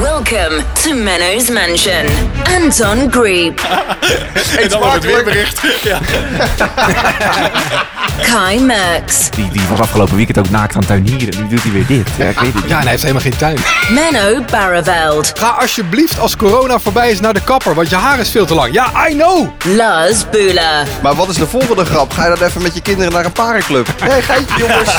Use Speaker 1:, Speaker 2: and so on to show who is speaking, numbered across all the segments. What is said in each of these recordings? Speaker 1: Welcome to Menno's Mansion. Anton Group,
Speaker 2: En dan was
Speaker 3: smakelijk.
Speaker 2: het weerbericht.
Speaker 1: Kai Merks,
Speaker 4: Die, die was afgelopen weekend ook naakt aan het tuinieren. Nu doet hij weer dit. Ja, ik weet het niet.
Speaker 3: Ja, en hij heeft helemaal geen tuin.
Speaker 1: Menno Barreveld,
Speaker 3: Ga alsjeblieft als corona voorbij is naar de kapper, want je haar is veel te lang. Ja, I know!
Speaker 1: Lars Bula,
Speaker 5: Maar wat is de volgende grap? Ga je dan even met je kinderen naar een parenclub? Hé, hey, geitje jongens.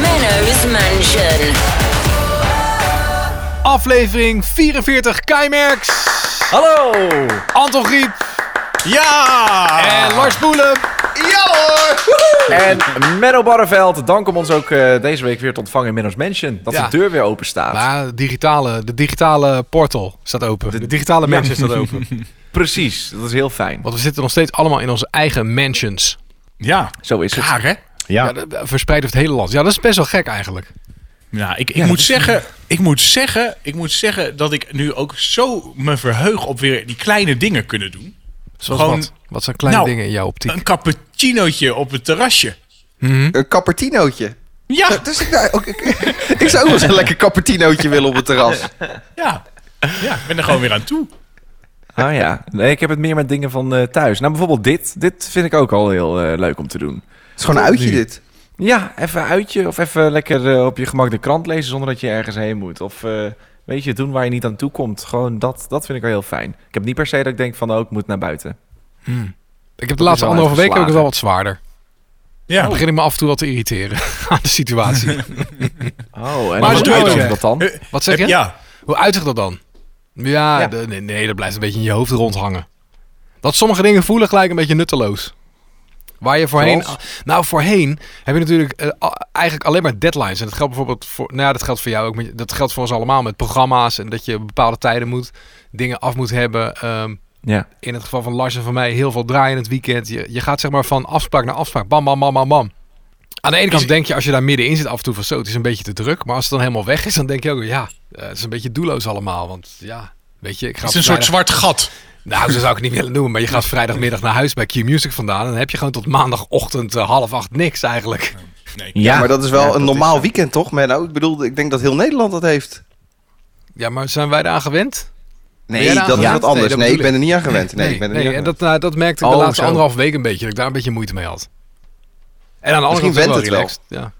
Speaker 1: Menno's Mansion.
Speaker 3: Aflevering 44, Keimerks,
Speaker 4: Hallo!
Speaker 3: Anton Griep
Speaker 2: Ja!
Speaker 3: en Lars Boelen.
Speaker 5: ja hoor!
Speaker 4: En Menno Barreveld, dank om ons ook eh, deze week weer te ontvangen in Menno's Mansion. Dat
Speaker 3: Ja.
Speaker 4: de deur weer open staat.
Speaker 3: Ja, de digitale, de digitale portal staat open. De, digitale mansion staat open.
Speaker 4: Precies, dat is heel fijn.
Speaker 3: Want we zitten nog steeds allemaal in onze eigen mansions.
Speaker 2: Ja,
Speaker 4: Zo is het.
Speaker 2: raar hè?
Speaker 3: Ja, de- de- verspreid over het hele land. Ja, dat is best wel gek eigenlijk.
Speaker 2: Ja, ik, ik, moet zeggen, ik moet zeggen, ik moet zeggen dat ik nu ook zo me verheug op weer die kleine dingen kunnen doen.
Speaker 3: Zoals
Speaker 2: Gewoon-
Speaker 3: wat? Wat zijn kleine
Speaker 2: Nou,
Speaker 3: dingen in jouw optiek?
Speaker 2: Een cappuccinootje op het terrasje.
Speaker 5: Een cappertinootje.
Speaker 2: Ja,
Speaker 5: Dus ik, nou, ook, ik, ik zou ook wel eens een lekker cappertinootje willen op het terras.
Speaker 2: ja. Ja, ik ben er gewoon weer aan toe.
Speaker 4: Oh ja. Nee, ik heb het meer met dingen van eh, thuis. Nou, bijvoorbeeld dit. Dit vind ik ook al heel eh, leuk om te doen.
Speaker 5: Het is gewoon een uitje dit.
Speaker 4: Ja, even uitje of even lekker eh, op je gemak de krant lezen zonder dat je ergens heen moet. Of eh, weet je, doen waar je niet aan toe komt. Gewoon dat, dat vind ik wel heel fijn. Ik heb niet per se dat ik denk van, oh, ik moet naar buiten.
Speaker 3: Ik heb de laatste
Speaker 4: wel
Speaker 3: anderhalve week ook
Speaker 4: uitgeslagen.
Speaker 3: wel wat zwaarder.
Speaker 2: Ja.
Speaker 3: Dan begin ik me af en toe wel te irriteren aan de situatie.
Speaker 4: Oh, en
Speaker 3: Maar
Speaker 4: hoe
Speaker 3: doe je
Speaker 4: doe je
Speaker 3: het?
Speaker 4: dat dan?
Speaker 2: Eh,
Speaker 3: Wat zeg je?
Speaker 2: Ja.
Speaker 3: Hoe uitzicht dat dan? Ja,
Speaker 4: Ja.
Speaker 3: de- nee, nee, dat blijft een beetje in je hoofd rondhangen. Dat sommige dingen voelen gelijk een beetje nutteloos. Waar je voorheen... Nou, voorheen heb je natuurlijk eh, a- eigenlijk alleen maar deadlines. En dat geldt bijvoorbeeld voor... Nou ja, dat geldt voor jou ook. met- dat geldt voor ons allemaal met programma's. En dat je bepaalde tijden moet... Dingen af moet hebben. Ehm,
Speaker 4: Ja.
Speaker 3: in het geval van Lars en van mij heel veel draaien in het weekend. Je, je gaat zeg maar van afspraak naar afspraak. Bam, bam, bam, bam, bam. Aan de ene kant denk je als je daar middenin zit af en toe van zo, het is een beetje te druk. Maar als het dan helemaal weg is, dan denk je ook ja, eh, het is een beetje doelloos allemaal. Want ja, weet je, ik ga
Speaker 2: Het is een soort
Speaker 3: vrijdag-
Speaker 2: zwart gat.
Speaker 3: Nou, zo zou ik het niet willen noemen. Maar je gaat vrijdagmiddag naar huis bij Q-Music vandaan. En dan heb je gewoon tot maandagochtend eh, half acht niks eigenlijk.
Speaker 5: Ja, maar dat is wel
Speaker 4: Ja,
Speaker 5: een
Speaker 4: dat
Speaker 5: normaal weekend toch, Menno? Ik bedoel, ik denk dat heel Nederland dat heeft.
Speaker 3: Ja, maar zijn wij daar aan gewend? Ben
Speaker 5: Nee,
Speaker 3: jij daar
Speaker 5: dat is
Speaker 3: aan
Speaker 5: wat
Speaker 3: gewend?
Speaker 5: anders.
Speaker 3: Nee, dat
Speaker 5: Nee, ik
Speaker 3: bedoel
Speaker 5: ben er niet aan gewend. Nee, ik ben er niet aan
Speaker 3: en
Speaker 5: gewend.
Speaker 3: dat, nou, dat merkte ik
Speaker 4: Oh,
Speaker 3: de laatste
Speaker 4: zo.
Speaker 3: anderhalf week een beetje. Dat ik daar een beetje moeite mee had. En aan de andere
Speaker 5: Misschien
Speaker 3: kant was
Speaker 5: went
Speaker 3: wel
Speaker 5: het
Speaker 3: relaxed. Ja.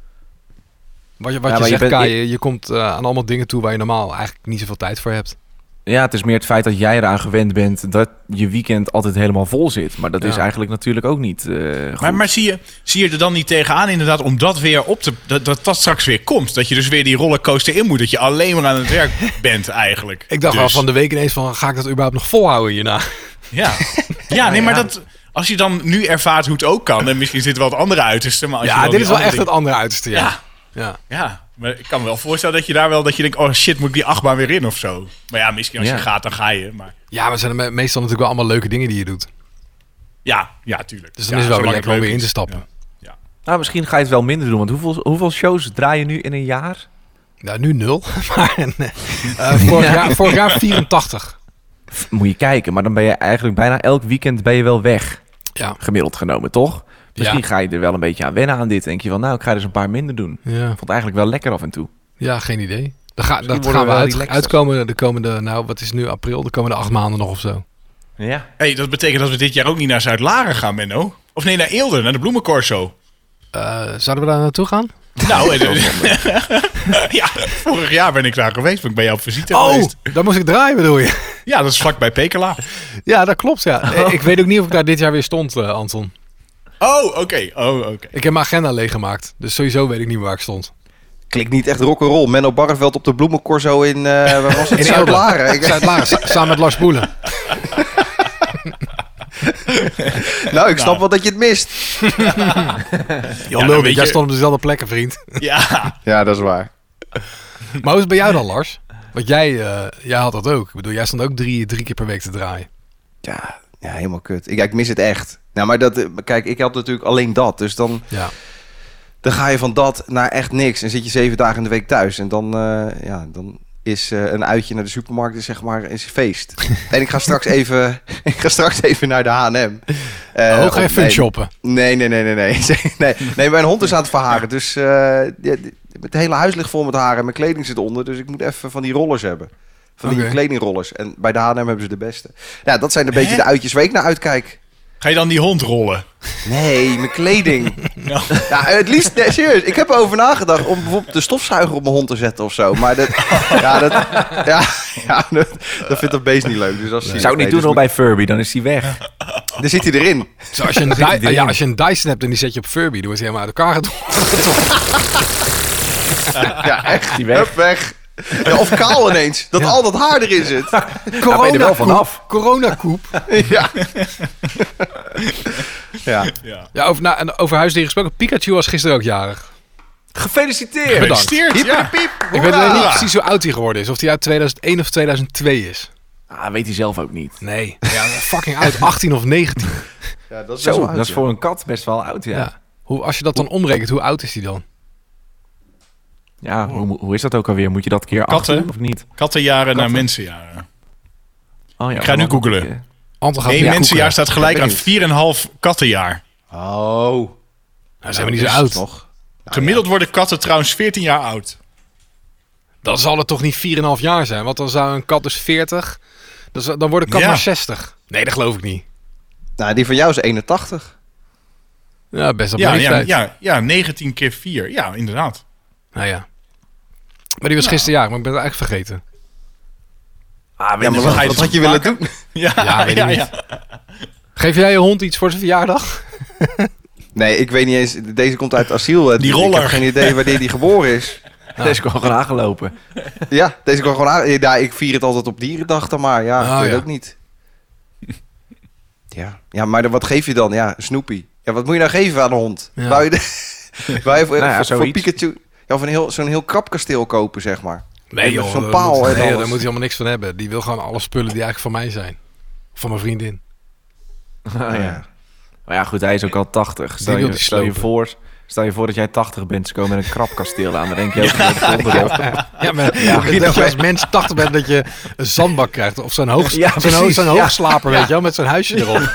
Speaker 3: Wat je, wat
Speaker 4: Ja,
Speaker 3: je
Speaker 4: maar je
Speaker 3: zegt,
Speaker 4: bent-
Speaker 3: Kai,
Speaker 4: je-
Speaker 3: je, je komt eh, aan allemaal dingen toe waar je normaal eigenlijk niet zoveel tijd voor hebt.
Speaker 4: Ja, het is meer het feit dat jij eraan gewend bent dat je weekend altijd helemaal vol zit. Maar dat
Speaker 3: Ja.
Speaker 4: is eigenlijk natuurlijk ook niet eh, goed.
Speaker 2: Maar, maar zie, je, zie je er dan niet tegenaan inderdaad om dat weer op te... Dat, dat dat straks weer komt. Dat je dus weer die rollercoaster in moet. Dat je alleen maar aan het werk bent eigenlijk.
Speaker 3: Ik dacht
Speaker 2: Dus,
Speaker 3: wel van de week ineens van, ga ik dat überhaupt nog volhouden hierna?
Speaker 2: Ja, ja nee, maar dat... Als je dan nu ervaart hoe het ook kan, en misschien zit er wel het andere uiterste, maar als je
Speaker 3: Ja,
Speaker 2: dan
Speaker 3: dit
Speaker 2: die
Speaker 3: is wel
Speaker 2: andere
Speaker 3: echt het andere uiterste, ja.
Speaker 2: Ja. Ja, maar ik kan me wel voorstellen dat je daar wel dat je denkt: oh shit, moet ik die achtbaan weer in of zo? Maar ja, misschien als
Speaker 4: Ja.
Speaker 2: je gaat, dan ga je. Maar
Speaker 3: Ja, maar het zijn me- meestal natuurlijk wel allemaal leuke dingen die je doet.
Speaker 2: ja, ja, tuurlijk.
Speaker 3: Dus dan
Speaker 2: Ja,
Speaker 3: is het wel
Speaker 2: zolang
Speaker 3: weer lekker om
Speaker 2: leuk
Speaker 3: weer in
Speaker 2: is.
Speaker 3: te stappen.
Speaker 4: Nou, misschien ga je het wel minder doen. Want hoeveel, hoeveel shows draai je nu in een jaar?
Speaker 3: Nou, nu nul. Maar eh, vorig, jaar, vorig jaar 84.
Speaker 4: Pff, Moet je kijken, maar dan ben je eigenlijk bijna elk weekend ben je wel weg.
Speaker 3: Ja.
Speaker 4: Gemiddeld genomen, toch? Misschien
Speaker 3: Ja.
Speaker 4: ga je er wel een beetje aan wennen aan dit. Denk je van, nou, ik ga er eens een paar minder doen.
Speaker 3: ja.
Speaker 4: Ik vond het eigenlijk wel lekker af en toe.
Speaker 3: Ja, geen idee. Dan ga, dat
Speaker 4: worden
Speaker 3: gaan
Speaker 4: we
Speaker 3: we
Speaker 4: wel
Speaker 3: uit,
Speaker 4: relaxter.
Speaker 3: uitkomen de komende, nou wat is nu april, de komende acht maanden nog of zo.
Speaker 4: Ja.
Speaker 2: hey, dat betekent dat we dit jaar ook niet naar Zuid-Laren gaan, Menno. Of nee, naar Eelde, naar de bloemencorso.
Speaker 3: Eh, zouden we daar naartoe gaan?
Speaker 2: Nou, en- ja, vorig jaar ben ik daar geweest, want ik ben jou op visite
Speaker 3: Oh!
Speaker 2: geweest.
Speaker 3: dan moest ik draaien bedoel je?
Speaker 2: Ja, dat is vlakbij Pekela.
Speaker 3: Ja, dat klopt ja. Eh, Ik weet ook niet of ik daar dit jaar weer stond, eh, Anton.
Speaker 2: Oh, oké. Oh, oké.
Speaker 3: Ik heb mijn agenda leeggemaakt, dus sowieso weet ik niet meer waar ik stond.
Speaker 5: Klinkt niet echt rock'n'roll. Menno Barreveld op de bloemencorso in, eh waar was het?
Speaker 3: In
Speaker 5: Zuid-Laren. Ik-
Speaker 3: Zuid-Laren, sa- samen met Lars Boelen.
Speaker 5: nou, ik snap wel dat je het mist.
Speaker 2: dan
Speaker 3: Jan Lulbeek,
Speaker 2: nou, weet
Speaker 3: jij
Speaker 2: je-
Speaker 3: stond op dezelfde plekken, vriend.
Speaker 2: Ja,
Speaker 5: Ja, dat is waar.
Speaker 3: Maar hoe is het bij jou dan, Lars? Want jij, eh, jij had dat ook. Ik bedoel, jij stond ook drie, drie keer per week te draaien.
Speaker 5: Ja, ja helemaal kut. Ik, ja, ik mis het echt. Nou, maar dat, eh, kijk, ik had natuurlijk alleen dat. Dus dan,
Speaker 3: Ja.
Speaker 5: dan ga je van dat naar echt niks. En zit je zeven dagen in de week thuis. En dan, eh, ja, dan is eh, een uitje naar de supermarkt is zeg maar is feest. en ik ga straks even, ik ga straks even naar de H&M. Eh,
Speaker 3: oh, ga je
Speaker 5: om-
Speaker 3: fun
Speaker 5: nee,
Speaker 3: shoppen?
Speaker 5: Nee, nee, nee, nee, nee. nee. Nee, mijn hond is aan het verharen. Dus eh, ja, d- het hele huis ligt vol met haren. en Mijn kleding zit onder. Dus ik moet even van die rollers hebben. Van die
Speaker 3: Oké.
Speaker 5: kledingrollers. En bij de H&M hebben ze de beste. Ja, dat zijn een beetje
Speaker 2: Hè?
Speaker 5: de uitjes waar ik naar uitkijk.
Speaker 2: Ga je dan die hond rollen?
Speaker 5: Nee, mijn kleding.
Speaker 2: Nou,
Speaker 5: Ja, het liefst, nee, serieus. Ik heb erover nagedacht om bijvoorbeeld de stofzuiger op mijn hond te zetten of zo. Maar dat, ja, dat, ja, ja, dat, dat vindt dat beest niet leuk. Dus als
Speaker 4: Zou het niet doen al bij Furby, dan is hij weg.
Speaker 5: Dan zit hij erin.
Speaker 3: Zo, als, je een
Speaker 4: hij
Speaker 3: die,
Speaker 4: erin.
Speaker 3: ja, als je een dice hebt en die zet je op Furby, dan wordt hij helemaal uit elkaar getrokken.
Speaker 5: Ja, echt.
Speaker 4: Die weg.
Speaker 5: Hup, weg. Ja, of kaal ineens. Dat al dat haar erin zit.
Speaker 4: Daar ben je er wel vanaf.
Speaker 3: Coronakoep.
Speaker 5: Ja. ja.
Speaker 2: ja.
Speaker 3: Ja, over, nou, en over huisdieren gesproken. Pikachu was gisteren ook jarig.
Speaker 4: Gefeliciteerd!
Speaker 3: Bedankt.
Speaker 2: Gefeliciteerd, ja.
Speaker 3: Ik weet alleen niet
Speaker 2: Hoera.
Speaker 3: precies hoe oud hij geworden is. Of hij uit 2001 of 2002 is.
Speaker 4: Ah, weet hij zelf ook niet.
Speaker 3: Nee, ja, fucking uit. 18 of 19.
Speaker 5: ja, dat is
Speaker 4: Zo,
Speaker 5: wel
Speaker 4: dat is voor een kat best wel oud, ja. Ja,
Speaker 3: Ja. Hoe, als je dat dan omrekent, hoe oud is hij dan?
Speaker 4: hoe, hoe is dat ook alweer? Moet je dat keer
Speaker 2: Katten?
Speaker 4: achter doen of niet?
Speaker 2: Kattenjaren naar mensenjaren.
Speaker 4: Oh, ja,
Speaker 2: Ik ga nu
Speaker 4: dan-
Speaker 2: googlen.
Speaker 3: Anton gaat
Speaker 2: Eén
Speaker 3: weer
Speaker 2: mensenjaar
Speaker 3: googlen.
Speaker 2: staat gelijk
Speaker 5: ben
Speaker 2: aan 4,5 kattenjaar.
Speaker 5: Oh.
Speaker 3: Nou, zijn we niet zo oud.
Speaker 5: Nog.
Speaker 2: Gemiddeld worden katten trouwens 14 jaar oud.
Speaker 3: Dan zal het toch niet 4,5 jaar zijn? Want dan zou een kat dus 40. Dan zou- dan wordt een kat
Speaker 2: Ja.
Speaker 3: maar 60. Nee, dat geloof ik niet.
Speaker 5: Nou, die van jou is 81.
Speaker 3: Ja, best op
Speaker 2: Ja, ja,
Speaker 3: leeftijd.
Speaker 2: ja, ja, 19 keer 4. Ja, inderdaad.
Speaker 3: Nou ja. Maar die was gisteren jarig, maar ik ben het eigenlijk vergeten.
Speaker 4: Ah, weet
Speaker 5: Ja,
Speaker 4: je
Speaker 5: maar
Speaker 4: wel.
Speaker 5: wat,
Speaker 2: ga je
Speaker 5: wat
Speaker 2: dus
Speaker 5: had je willen doen?
Speaker 2: Ja,
Speaker 3: Ja,
Speaker 2: ja,
Speaker 3: weet ik
Speaker 2: ja,
Speaker 3: niet. Geef jij je hond iets voor zijn verjaardag?
Speaker 5: Nee, ik weet niet eens. Deze komt uit asiel. dus
Speaker 2: Die
Speaker 5: Ik
Speaker 2: roller.
Speaker 5: heb geen idee wanneer die geboren is.
Speaker 4: Deze is gewoon aangelopen.
Speaker 5: Ja, deze kan gewoon aan. eh, Ja, ik vier het altijd op dierendag dan maar. Ja,
Speaker 3: Oh,
Speaker 5: ik weet
Speaker 3: ja.
Speaker 5: ook niet. Ja. ja, maar dan- wat geef je dan? Ja, Snoopy. Ja, wat moet je nou geven aan een hond?
Speaker 3: Ja.
Speaker 5: Wou je de, wou je
Speaker 4: Nou
Speaker 5: voor,
Speaker 4: ja,
Speaker 5: voor- voor
Speaker 4: zoiets.
Speaker 5: Pikachu... Ja, of een heel, zo'n heel krap kasteel kopen, zeg maar.
Speaker 3: Nee
Speaker 5: joh, zo'n
Speaker 3: daar
Speaker 5: paal
Speaker 3: moet-
Speaker 5: en
Speaker 3: nee, joh, daar
Speaker 5: alles.
Speaker 3: moet hij helemaal niks van hebben. Die wil gewoon alle spullen die eigenlijk van mij zijn. Van mijn vriendin.
Speaker 4: Ah, ja. Maar ja, goed, hij is ook al 80. Stel,
Speaker 3: wil
Speaker 4: je,
Speaker 3: die
Speaker 4: stel, je,
Speaker 3: slopen.
Speaker 4: voor, stel je voor dat jij 80 bent, ze komen met een krapkasteel aan. Dan denk je ook dat het onderop.
Speaker 3: Ja, maar dat je als mens 80 bent dat je een zandbak krijgt. Of zo'n hoog,
Speaker 4: Ja,
Speaker 3: zo'n hoog-
Speaker 4: precies,
Speaker 3: zo'n
Speaker 4: ja.
Speaker 3: hoogslaper, weet je wel, met zo'n huisje erop.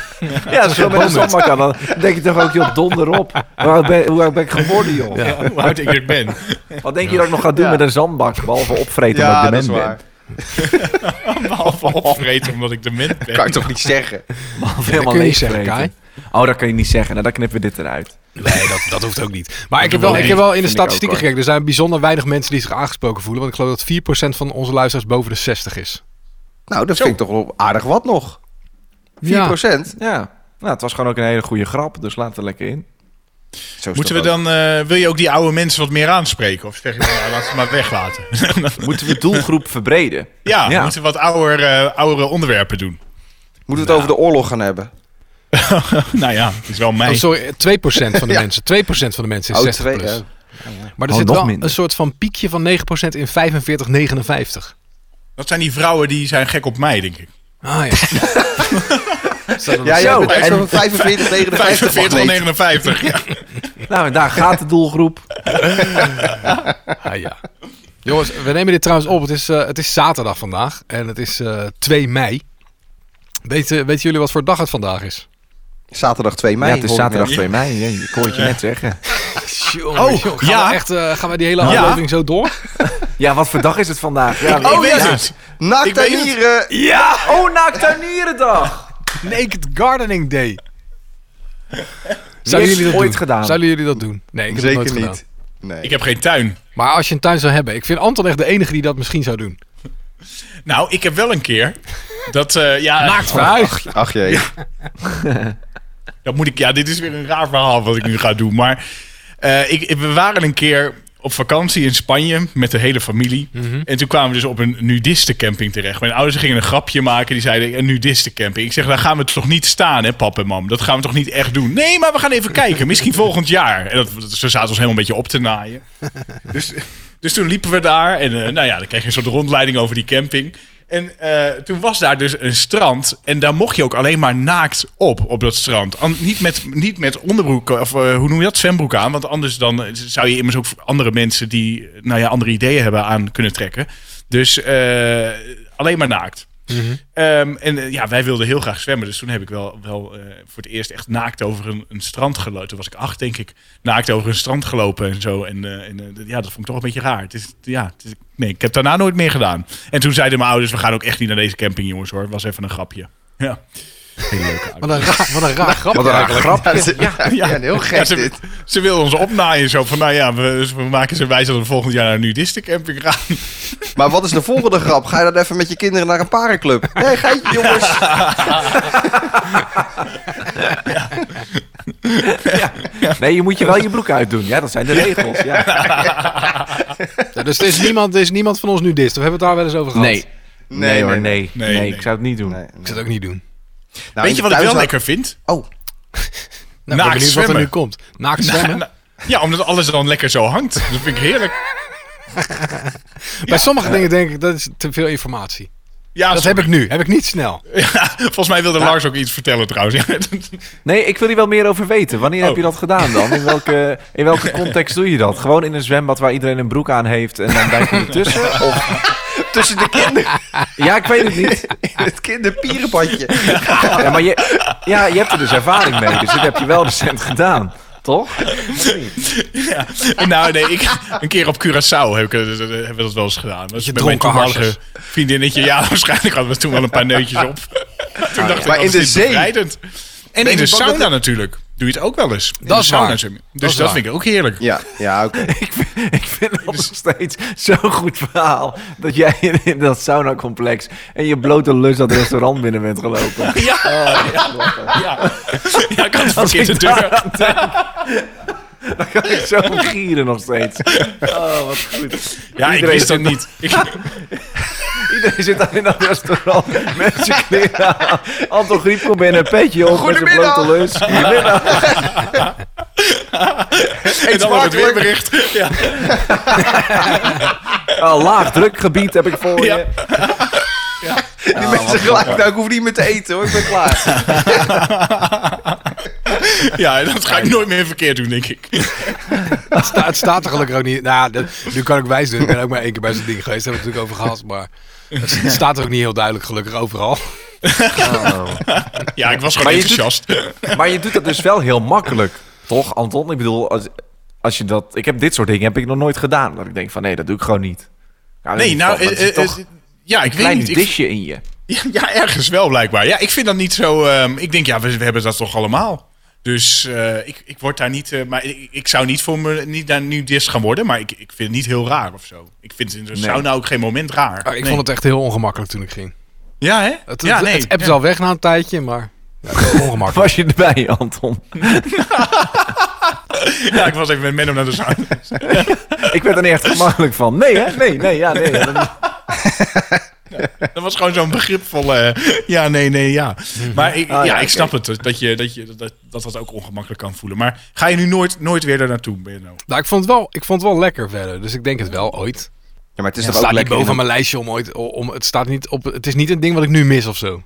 Speaker 4: Ja, als je met een zandbak aan, dan denk je toch ook, joh, donderop. Hoe oud ben, hoe oud ben ik geworden, joh?
Speaker 2: Hoe oud ik er ben.
Speaker 4: Wat denk je dat ik nog ga doen
Speaker 5: Ja.
Speaker 4: met een zandbak? Behalve opvreten
Speaker 5: Ja,
Speaker 4: omdat
Speaker 5: dat
Speaker 4: ik
Speaker 5: is
Speaker 4: dement
Speaker 5: waar.
Speaker 4: ben.
Speaker 2: Behalve opvreten omdat ik dement ben.
Speaker 5: Kan ik toch niet zeggen?
Speaker 4: Behalve
Speaker 3: kun
Speaker 4: helemaal
Speaker 3: je niet
Speaker 4: leeg
Speaker 3: zeggen,
Speaker 4: vreten. Oh, dat kan je niet zeggen. Nou, dan knippen we dit eruit.
Speaker 3: Nee, dat, dat hoeft ook niet. Maar ik heb,
Speaker 2: doen
Speaker 3: wel,
Speaker 2: we
Speaker 3: ik
Speaker 2: niet.
Speaker 3: heb wel in de
Speaker 4: Vind ik ook,
Speaker 3: statistieken
Speaker 4: hoor.
Speaker 3: gekeken. Er zijn bijzonder weinig mensen die zich aangesproken voelen. Want ik geloof dat 4% van onze luisteraars boven de 60 is.
Speaker 5: Nou, dat vind ik toch wel aardig wat nog. 4%?
Speaker 4: Ja. Nou, het was gewoon ook een hele goede grap, dus laat het er lekker in.
Speaker 5: Zo is
Speaker 2: Moeten we
Speaker 5: dat ook.
Speaker 2: dan, eh, wil je ook die oude mensen wat meer aanspreken? Of zeg je, nou, laten we maar weglaten?
Speaker 4: Moeten we de doelgroep verbreden?
Speaker 2: Ja,
Speaker 4: Ja.
Speaker 2: we moeten wat ouder, eh, oudere onderwerpen doen.
Speaker 5: Moeten we het over de oorlog gaan hebben?
Speaker 2: nou ja, het is wel
Speaker 3: Oh,
Speaker 2: mij.
Speaker 3: sorry, 2% van de mensen. 2% van de mensen is
Speaker 5: Oh,
Speaker 3: 60
Speaker 5: twee,
Speaker 3: plus.
Speaker 5: ja.
Speaker 3: Maar er
Speaker 4: Oh,
Speaker 3: zit
Speaker 4: nog
Speaker 3: wel
Speaker 4: minder.
Speaker 3: een soort van piekje van 9% in 45, 59.
Speaker 2: Dat zijn die vrouwen die zijn gek op mij, denk ik.
Speaker 3: Ah ja.
Speaker 5: Ja, ja,
Speaker 4: Zo,
Speaker 5: met echt zo'n 45, 59
Speaker 2: 45
Speaker 5: magneet.
Speaker 2: 59. Ja.
Speaker 4: Nou, en daar gaat de doelgroep.
Speaker 3: ah ja. Jongens, we nemen dit trouwens op. Het is, eh, het is zaterdag vandaag. En het is eh 2 mei. Weten, weten jullie wat voor dag het vandaag is?
Speaker 5: Zaterdag 2 mei.
Speaker 4: ja, het is
Speaker 5: hoor ik
Speaker 4: zaterdag
Speaker 5: net.
Speaker 4: 2 mei. Ja, ik hoorde het je net zeggen.
Speaker 2: Oh,
Speaker 3: Jongen, gaan
Speaker 2: ja.
Speaker 3: We echt, eh, gaan we die hele
Speaker 2: Ja.
Speaker 3: aflevering zo door?
Speaker 4: Ja, wat voor dag is het vandaag? Ja,
Speaker 2: Ik weet
Speaker 5: ja.
Speaker 2: het. Ik
Speaker 5: Naakt eh, en
Speaker 2: weet het.
Speaker 5: nieren.
Speaker 4: ja! oh, Naaktuinierendag!
Speaker 3: Naked Gardening Day.
Speaker 4: heeft het ooit
Speaker 3: doen?
Speaker 4: gedaan?
Speaker 3: Zouden jullie dat doen? Nee, ik heb
Speaker 5: Zeker
Speaker 3: het nooit
Speaker 5: niet.
Speaker 3: gedaan.
Speaker 5: Nee.
Speaker 2: Ik heb geen tuin.
Speaker 3: Maar als je een tuin zou hebben, ik vind Anton echt de enige die dat misschien zou doen.
Speaker 2: Nou, ik heb wel een keer. Dat, eh, ja,
Speaker 3: Naakt verhuis.
Speaker 5: Ach jee.
Speaker 2: Dat moet ik, ja, dit is weer een raar verhaal wat ik nu ga doen. Maar eh, ik, we waren een keer op vakantie in Spanje met de hele familie. En toen kwamen we dus op een nudistencamping terecht. Mijn ouders gingen een grapje maken. Die zeiden, een nudistencamping. Ik zeg, daar gaan we toch niet staan, hè, pap en mam? Dat gaan we toch niet echt doen? Nee, maar we gaan even kijken. Misschien volgend jaar. En dat, dat, ze zaten ons helemaal een beetje op te naaien. Dus, dus toen liepen we daar. En eh, nou ja, dan kreeg je een soort rondleiding over die camping. En eh, toen was daar dus een strand. En daar mocht je ook alleen maar naakt op, op dat strand. An- niet, met, niet met onderbroek, of eh, hoe noem je dat, zwembroek aan. Want anders dan eh, zou je immers ook andere mensen die nou ja, andere ideeën hebben aan kunnen trekken. Dus eh, alleen maar naakt. Ehm, en eh, ja, wij wilden heel graag zwemmen. Dus toen heb ik wel, wel eh, voor het eerst echt naakt over een, een strand gelopen. Toen was ik acht, denk ik. Naakt over een strand gelopen en zo. En, eh, en eh, d- ja, dat vond ik toch een beetje raar. Het is, ja, het is- nee, ik heb daarna nooit meer gedaan. En toen zeiden mijn ouders, we gaan ook echt niet naar deze camping, jongens hoor. Het was even een grapje. Ja. Heel leuk.
Speaker 3: Wat een raar, wat een raar grap.
Speaker 5: Wat een grap. Ja,
Speaker 2: Ja.
Speaker 5: ja, heel gek
Speaker 2: Ja, ze,
Speaker 5: dit.
Speaker 2: ze wilden ons opnaaien zo van, nou ja, we, we maken ze wijs dat we volgend jaar naar een nudistencamping gaan.
Speaker 5: Maar wat is de volgende grap? Ga je dan even met je kinderen naar een parenclub? Hé, hey, geitje jongens.
Speaker 4: Nee, je moet je wel je broek uitdoen. Ja, dat zijn de regels. Ja.
Speaker 3: Ja, dus er is, niemand, er is niemand van ons nu dit. We hebben het daar wel eens over gehad.
Speaker 4: Nee. Nee, hoor, nee. Nee,
Speaker 2: Nee, nee.
Speaker 4: ik zou het niet doen.
Speaker 5: Nee.
Speaker 3: Ik zou het ook niet doen.
Speaker 5: Nou,
Speaker 2: Weet je
Speaker 5: in
Speaker 2: wat ik wel
Speaker 5: thuis-
Speaker 2: lekker vind?
Speaker 5: Oh,
Speaker 3: Nou, ik ben
Speaker 2: Naakt
Speaker 3: benieuwd wat er
Speaker 2: zwemmen.
Speaker 3: nu komt. Naakt zwemmen.
Speaker 2: Na- Ja, omdat alles dan lekker zo hangt. Dat vind ik heerlijk.
Speaker 3: Bij sommige dingen denk ik, dat is te veel informatie.
Speaker 2: Ja,
Speaker 3: Dat
Speaker 2: zo-
Speaker 3: heb ik nu. Heb ik niet snel.
Speaker 2: ja, volgens mij wilde Lars ook iets vertellen trouwens. Ja, dat-
Speaker 4: Nee, ik wil hier wel meer over weten. Wanneer
Speaker 2: Oh.
Speaker 4: heb je dat gedaan dan? In welke, in welke context doe je dat? Gewoon in een zwembad waar iedereen een broek aan heeft en dan duik je ertussen? Of...
Speaker 5: tussen de kinderen
Speaker 4: Ja, ik weet het niet.
Speaker 5: in het kinderpierenbadje.
Speaker 4: Ja, maar je, ja, je hebt er dus ervaring mee, dus dit heb je wel recent gedaan. Toch?
Speaker 2: ja. En Nou, nee, ik, een keer op Curaçao heb ik, eh, eh, hebben we dat wel eens gedaan. Dat is
Speaker 3: je
Speaker 2: met mijn
Speaker 3: dronken
Speaker 2: toenmalige vriendinnetje. Ja, waarschijnlijk hadden we toen wel een paar neutjes op. Toen dacht ik, wat
Speaker 5: Maar in
Speaker 2: is
Speaker 5: de
Speaker 2: dit
Speaker 5: zee?
Speaker 2: bevrijdend. En in de sauna natuurlijk. Doe je het ook wel eens. In
Speaker 3: Dat
Speaker 2: de
Speaker 3: is
Speaker 2: sauna
Speaker 3: waar.
Speaker 2: zwem je.
Speaker 3: Dat
Speaker 2: Dus
Speaker 3: is
Speaker 2: dat,
Speaker 3: waar.
Speaker 2: vind ik ook heerlijk.
Speaker 5: Ja, ja oké.
Speaker 4: Ik vind, ik vind dat nog steeds zo'n goed verhaal. Dat jij in, in dat sauna-complex en je blote lus dat restaurant binnen bent gelopen.
Speaker 2: Ja, ja. ja ik had de
Speaker 4: Als ik
Speaker 2: verkeerde deur.
Speaker 4: daaraan denk, Dan kan ik zo gieren nog steeds. Oh, wat goed.
Speaker 2: Ja, ik
Speaker 4: Iedereen
Speaker 2: wist
Speaker 4: zit
Speaker 2: dat niet. Ik-
Speaker 4: Iedereen zit daar in dat restaurant. Mensen kleren aan. Anton Griep komt binnen, een petje op met zijn blote lus.
Speaker 2: en dan nog het
Speaker 5: smakelijk.
Speaker 2: weerbericht. Ja.
Speaker 4: Oh, laag drukgebied heb ik voor
Speaker 2: Ja.
Speaker 4: je.
Speaker 5: Die mensen gelijk, nou ik hoef niet meer te eten hoor, ik ben klaar.
Speaker 2: ja, dat ga ik nooit meer verkeerd doen, denk ik.
Speaker 3: Het sta- het staat er gelukkig ook niet. Nou, dat- nu kan ik wijs doen. Ik ben ook maar één keer bij zo'n ding geweest. Daar hebben we het natuurlijk over gehad. Maar het het staat er ook niet heel duidelijk, gelukkig overal.
Speaker 2: Ja, ik was gewoon
Speaker 4: Maar je
Speaker 2: enthousiast.
Speaker 4: Maar je doet dat dus wel heel makkelijk, toch, Anton? Ik bedoel, als, als je dat. Ik heb dit soort dingen heb ik nog nooit gedaan. Dat ik denk van nee, dat doe ik gewoon niet. Ja, dat
Speaker 2: Nee,
Speaker 4: is
Speaker 2: nou,
Speaker 4: toch- dat
Speaker 2: eh,
Speaker 4: is
Speaker 2: eh,
Speaker 4: toch
Speaker 2: eh, ja, ik
Speaker 4: een
Speaker 2: weet
Speaker 4: klein
Speaker 2: niet. Ik-
Speaker 4: disje in je.
Speaker 2: ja, ja, ergens wel blijkbaar. Ja, ik vind dat niet zo. ehm, ik denk, ja, we, we hebben dat toch allemaal. Dus eh, ik, ik word daar niet. eh, maar ik, ik zou niet voor me niet daar nu dis gaan worden. Maar ik, ik vind het niet heel raar of zo. Ik vind het in zo'n
Speaker 4: Nee.
Speaker 2: sauna ook geen moment raar.
Speaker 3: Maar Ah, ik
Speaker 2: Nee.
Speaker 3: vond het echt heel ongemakkelijk toen ik ging.
Speaker 2: Ja, hè?
Speaker 3: Het,
Speaker 2: ja,
Speaker 3: het,
Speaker 2: nee.
Speaker 3: het appt
Speaker 2: ja.
Speaker 3: al weg na een tijdje, maar ja, het is ongemakkelijk.
Speaker 4: Was je erbij, Anton?
Speaker 2: Ja, ik was even met Menno naar de sauna.
Speaker 4: ik werd er niet echt gemakkelijk van. Nee, hè? Nee, nee, ja, nee. ja.
Speaker 2: Dat was gewoon zo'n begripvolle. eh, ja, nee, nee, ja. Maar
Speaker 4: Ah,
Speaker 2: ik, ja,
Speaker 4: ja,
Speaker 2: ik
Speaker 4: oké.
Speaker 2: snap het. Dat, je, dat, je, dat, dat dat ook ongemakkelijk kan voelen. Maar ga je nu nooit, nooit weer daar naartoe, Menno?
Speaker 3: Nou, ik vond, het wel, ik vond het wel lekker verder, dus ik denk het wel ooit.
Speaker 5: Ja, maar het is
Speaker 3: Het
Speaker 5: toch
Speaker 3: staat
Speaker 5: ook
Speaker 3: niet
Speaker 5: lekker
Speaker 3: boven
Speaker 5: in,
Speaker 3: mijn lijstje om ooit... Om, het, staat niet op, het is niet een ding wat ik nu mis of zo.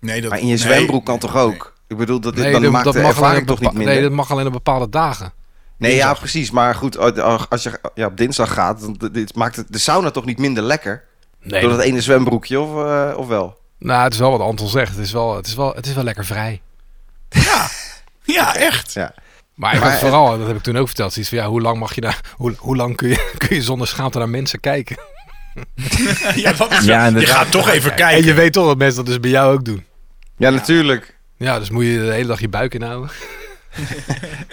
Speaker 2: Nee, dat,
Speaker 5: maar in je
Speaker 2: nee.
Speaker 5: zwembroek kan toch ook? Ik bedoel, dat, dit
Speaker 3: Nee,
Speaker 5: dan
Speaker 3: dat,
Speaker 5: maakt
Speaker 3: dat
Speaker 5: de
Speaker 3: mag alleen
Speaker 5: ervaring
Speaker 3: op
Speaker 5: toch niet
Speaker 3: bepa-
Speaker 5: minder?
Speaker 3: nee, dat mag alleen op bepaalde dagen.
Speaker 5: Nee, ja, precies. Maar goed, oh, als je ja, op dinsdag gaat, dan d- dit maakt het de sauna toch niet minder lekker?
Speaker 3: Nee.
Speaker 5: Door dat ene zwembroekje, of, eh, of wel?
Speaker 3: Nou, het is wel wat Anton zegt. Het is wel, het is wel, het is wel lekker vrij.
Speaker 2: Ja, echt.
Speaker 5: Ja.
Speaker 3: Maar ik
Speaker 5: Maar
Speaker 3: had
Speaker 5: het-
Speaker 3: vooral, dat heb ik toen ook verteld, zoiets van ja, hoe lang mag je daar, hoe, hoe lang kun je, kun je zonder schaamte naar mensen kijken?
Speaker 2: Ja, dat is
Speaker 4: Ja,
Speaker 2: wel- je
Speaker 4: inderdaad.
Speaker 2: gaat toch even
Speaker 3: En
Speaker 2: kijken.
Speaker 3: je weet toch dat mensen dat dus bij jou ook doen.
Speaker 5: Ja, natuurlijk.
Speaker 3: Ja, dus moet je de hele dag je buik inhouden.